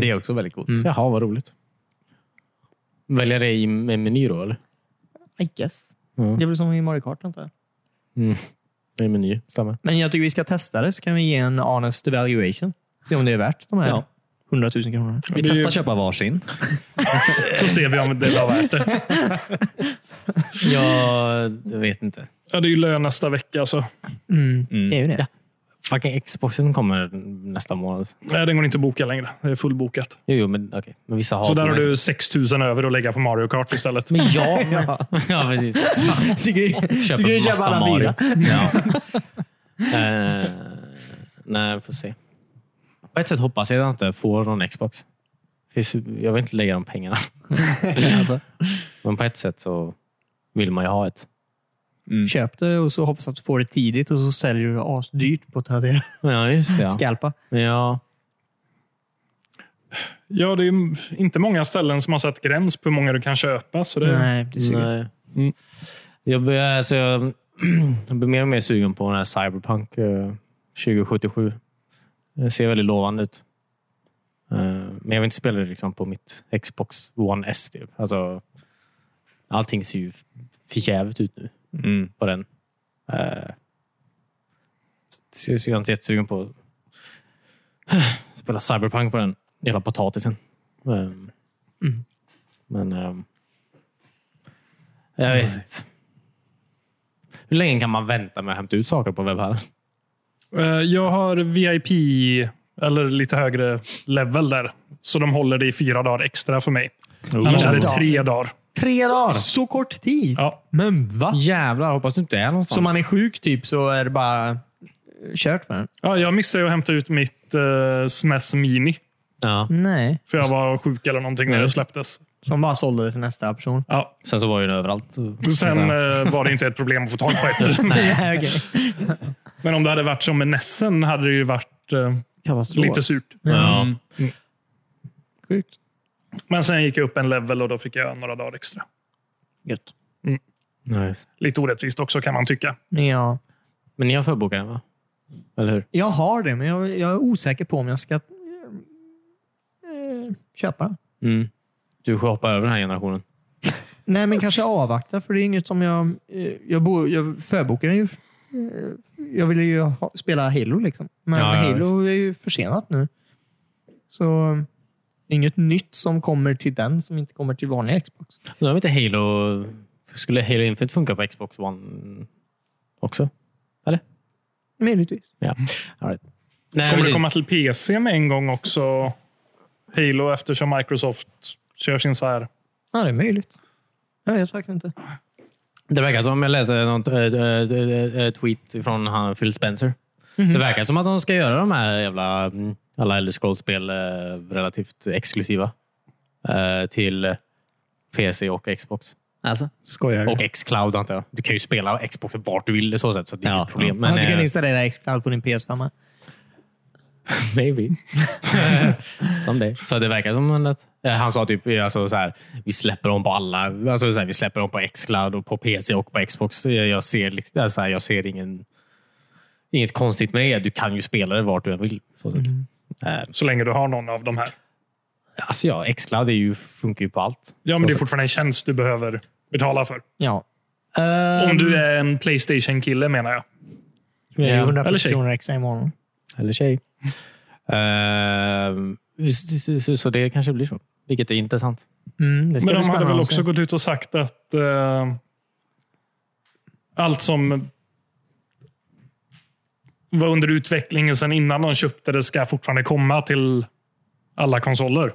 Speaker 4: Det är också väldigt coolt. Jaha, vad roligt. Välja det i en meny då, eller?
Speaker 1: I guess. Det är väl som i Mario Kart antar jag.
Speaker 4: I en meny, stämmer.
Speaker 1: Men jag tycker vi ska testa det så kan vi ge en honest evaluation. Se om det är värt de här
Speaker 5: Ja.
Speaker 1: 100 000 kronorna.
Speaker 5: Vi testar att köpa varsin.
Speaker 3: Så ser vi om det var värt det.
Speaker 4: Jag vet inte.
Speaker 3: Ja, det är ju lön nästa vecka. Så.
Speaker 1: Mm. Det är ju det.
Speaker 4: Fucking Xboxen kommer nästa månad.
Speaker 3: Nej, den går inte att boka längre. Det är fullbokat.
Speaker 4: Jo, jo men okej. Men vissa har...
Speaker 3: Så där har du 6 000 över att lägga på Mario Kart istället.
Speaker 4: Men jag... ja. precis.
Speaker 1: Tycker-
Speaker 4: Köper
Speaker 1: tycker du köpa
Speaker 4: massa
Speaker 1: alla
Speaker 4: Mario.
Speaker 1: bilar?
Speaker 4: Ja. Eh, nej, vi får se. På ett sätt hoppas jag att jag inte får någon Xbox. Finns- Jag vill inte lägga de pengarna. Alltså. Men på ett sätt så vill man ju ha ett.
Speaker 1: Köp det och så hoppas att du får det tidigt och så säljer du det asdyrt på Tradera.
Speaker 4: Ja, just det. Ja.
Speaker 1: Skalpa.
Speaker 4: Ja.
Speaker 3: Ja, det är ju inte många ställen som har satt gräns på hur många du kan köpa. Så det...
Speaker 1: Nej, det är Nej.
Speaker 4: Nej. Mm. Jag, börjar, alltså, jag, jag blir mer och mer sugen på den här Cyberpunk eh, 2077. Det ser väldigt lovande ut. Eh, Men jag vill inte spela det liksom på mitt Xbox One S. Typ. Alltså, allting ser ju f- för jävligt ut nu på den. Eh, Så så jag är inte jättesugen på att spela Cyberpunk på den hela potatisen. Eh, Men ehm, jag vet inte. Hur länge kan man vänta med att hämta ut saker på webbhallen?
Speaker 3: Eh, Jag har VIP, eller lite högre level där. Så de håller det i fyra dagar extra för mig. Annars är det tre Oh. dagar.
Speaker 4: Tre dagar!
Speaker 1: Så kort tid?
Speaker 3: Ja.
Speaker 1: Men va?
Speaker 4: Jävlar, hoppas du inte är någonstans.
Speaker 1: Så man är sjuk typ så är det bara eh, kört för den?
Speaker 3: Ja, jag missade ju att hämta ut mitt eh, SNES Mini.
Speaker 4: ja.
Speaker 1: Nej.
Speaker 3: För jag var sjuk eller någonting när det släpptes.
Speaker 1: Som bara sålde det till nästa person.
Speaker 3: Ja.
Speaker 4: Sen så var ju den överallt.
Speaker 3: Sen eh, var det inte ett problem att få tag på ett.
Speaker 1: Nej, okej.
Speaker 3: Men om det hade varit som med Nessen hade det ju varit eh,
Speaker 1: Katastrof.
Speaker 3: lite surt.
Speaker 4: Ja.
Speaker 5: Mm.
Speaker 1: sjukt.
Speaker 3: Men sen gick jag upp en level och då fick jag några dagar extra.
Speaker 1: Gött.
Speaker 4: Nice.
Speaker 3: Lite orättvist också kan man tycka.
Speaker 1: Ja.
Speaker 4: Men ni har förbokat den, va? Eller hur?
Speaker 1: Jag har det, men jag, jag är osäker på om jag ska eh, eh, köpa den.
Speaker 4: Mm. Du får hoppa över den här generationen.
Speaker 1: Nej, men kanske avvakta, för det är inget som jag... eh, Jag, bo, jag förbokade ju... eh, Jag ville ju ha, spela Halo, liksom. men
Speaker 4: Ja, ja,
Speaker 1: Halo är ju försenat nu. Så eh, inget nytt som kommer till den som inte kommer till vanliga Xbox.
Speaker 4: Undrar om inte Halo... Skulle Halo Infinite funka på Xbox One också?
Speaker 1: Möjligtvis.
Speaker 4: Ja. All right.
Speaker 1: Eh,
Speaker 3: Kommer
Speaker 4: Nej,
Speaker 3: det
Speaker 4: precis.
Speaker 3: komma till PC med en gång också? Halo eftersom Microsoft kör sin så här.
Speaker 1: Ja, det är möjligt. Jag vet faktiskt inte.
Speaker 4: Det verkar som, jag läste någon eh, eh, eh, tweet från han, Phil Spencer.
Speaker 5: Mhm.
Speaker 4: Det verkar som att de ska göra de här jävla, mm, alla Elder Scrolls-spel eh, relativt exklusiva. eh, Till PC och Xbox.
Speaker 5: Alltså.
Speaker 2: Skojar du?
Speaker 4: Och Xcloud antar jag. Du kan ju spela Xbox vart du vill så, sätt, så det är
Speaker 5: Ja,
Speaker 4: inget problem.
Speaker 1: Men, du kan
Speaker 4: eh,
Speaker 1: installera Xcloud på din PS5.
Speaker 4: Maybe. Someday. Så det verkar som att... eh, Han sa typ alltså så här, vi släpper dem på alla. Alltså så här, vi släpper dem på Xcloud, och på PC och på Xbox. Jag jag ser, liksom- alltså så här, jag ser ingen, inget konstigt med det. Du kan ju spela det vart du än vill. Så sätt. Eh,
Speaker 3: Så länge du har någon av de här.
Speaker 4: Alltså ja, Xcloud är ju, funkar ju på allt.
Speaker 3: Ja, men
Speaker 4: Så
Speaker 3: det är
Speaker 4: sätt.
Speaker 3: fortfarande en tjänst du behöver betala för.
Speaker 1: Ja.
Speaker 3: Om du är en Playstation-kille menar jag.
Speaker 1: Det är ju
Speaker 4: Ja.
Speaker 1: 140
Speaker 3: Eller tjej.
Speaker 1: eh, kronor extra i månaden.
Speaker 4: Eller tjej. Ehm, så- så- så- Så det kanske blir så. Vilket är intressant.
Speaker 1: Mm, det ska bli
Speaker 3: Men de hade
Speaker 1: spännande
Speaker 3: väl
Speaker 1: att
Speaker 3: också
Speaker 1: se.
Speaker 3: gått ut och sagt att eh, allt som var under utvecklingen sen innan de köpte det ska fortfarande komma till alla konsoler.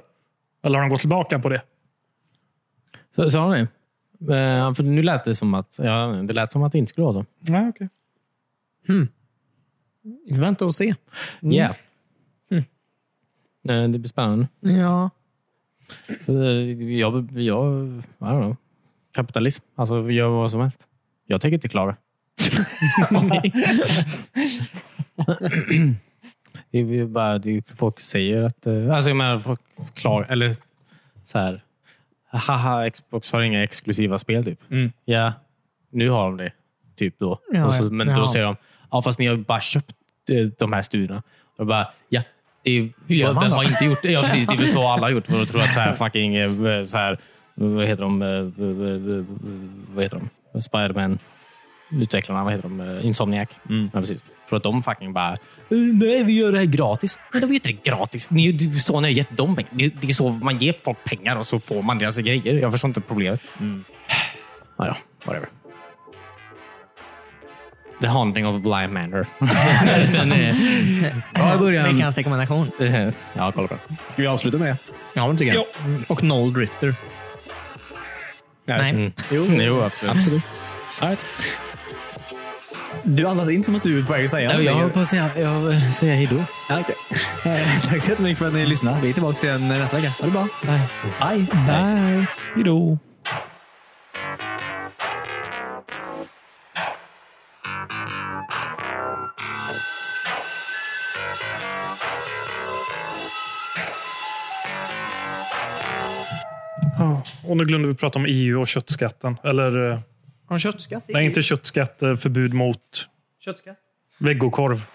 Speaker 3: Eller har de gått tillbaka på det?
Speaker 4: Så- Sa han det? Eh, För nu lät det som att, ja, det lät som att det inte skulle vara så.
Speaker 3: Nej, okej.
Speaker 4: Mm.
Speaker 1: Vi får vänta och se.
Speaker 4: Yeah. Nej, Hm. Eh, det blir spännande.
Speaker 1: Ja.
Speaker 4: Så, eh, jag, jag, I don't know. Kapitalism. Alltså, vi gör vad som helst. Jag tänker inte klaga. det är ju bara det är ju- folk säger att... eh, Alltså jag menar, folk klagar. Eller så här. Haha, Xbox har inga exklusiva spel typ. Ja, nu har de det. Typ då.
Speaker 1: Ja,
Speaker 4: och så,
Speaker 1: ja.
Speaker 4: men
Speaker 1: Ja.
Speaker 4: då säger de, ja fast ni har ju bara köpt eh, de här studierna. Och jag bara, ja. Det är, Hur
Speaker 1: gör man då?
Speaker 4: har inte gjort det? Ja, precis. Det är väl så alla har gjort. Men de tror att så här fucking... eh, Så här, vad heter de? eh, eh, eh, Vad heter de? Spiderman. Utvecklarna, vad heter de? Eh, Insomniac.
Speaker 1: Mm.
Speaker 4: Ja, precis. Tror att de fucking bara, eh, nej vi gör det här gratis. Men de gör inte det gratis. Ni, du- så ni har gett dem pengar. Det, det är så man ger folk pengar och så får man deras grejer. Jag förstår inte problemet. Ah, ja, whatever. The Haunting of a Blind Manor. Den är... Bra i början.
Speaker 1: Veckans rekommendation.
Speaker 4: Ja, kolla på den.
Speaker 2: Ska vi avsluta med det?
Speaker 1: Ja, men tycker jag. Och Noll Drifter.
Speaker 2: Ja, just
Speaker 1: Nej.
Speaker 2: det.
Speaker 4: Jo, jo absolut.
Speaker 5: Absolut. Du andas in som att du är på väg att säga
Speaker 4: Jag
Speaker 5: någonting.
Speaker 4: höll på att säga, jag säga hejdå.
Speaker 5: Ja, okej. Eh, Tack så jättemycket för att ni lyssnade. Vi är tillbaka igen nästa vecka. Ha det bra. Bye. Bye.
Speaker 3: Hejdå. Ja, Och nu glömde vi prata om EU och köttskatten. Eller, eh,
Speaker 1: Har du köttskatt?
Speaker 3: nej, inte köttskatt. eh, Förbud mot
Speaker 1: Köttskatt?
Speaker 3: vegokorv.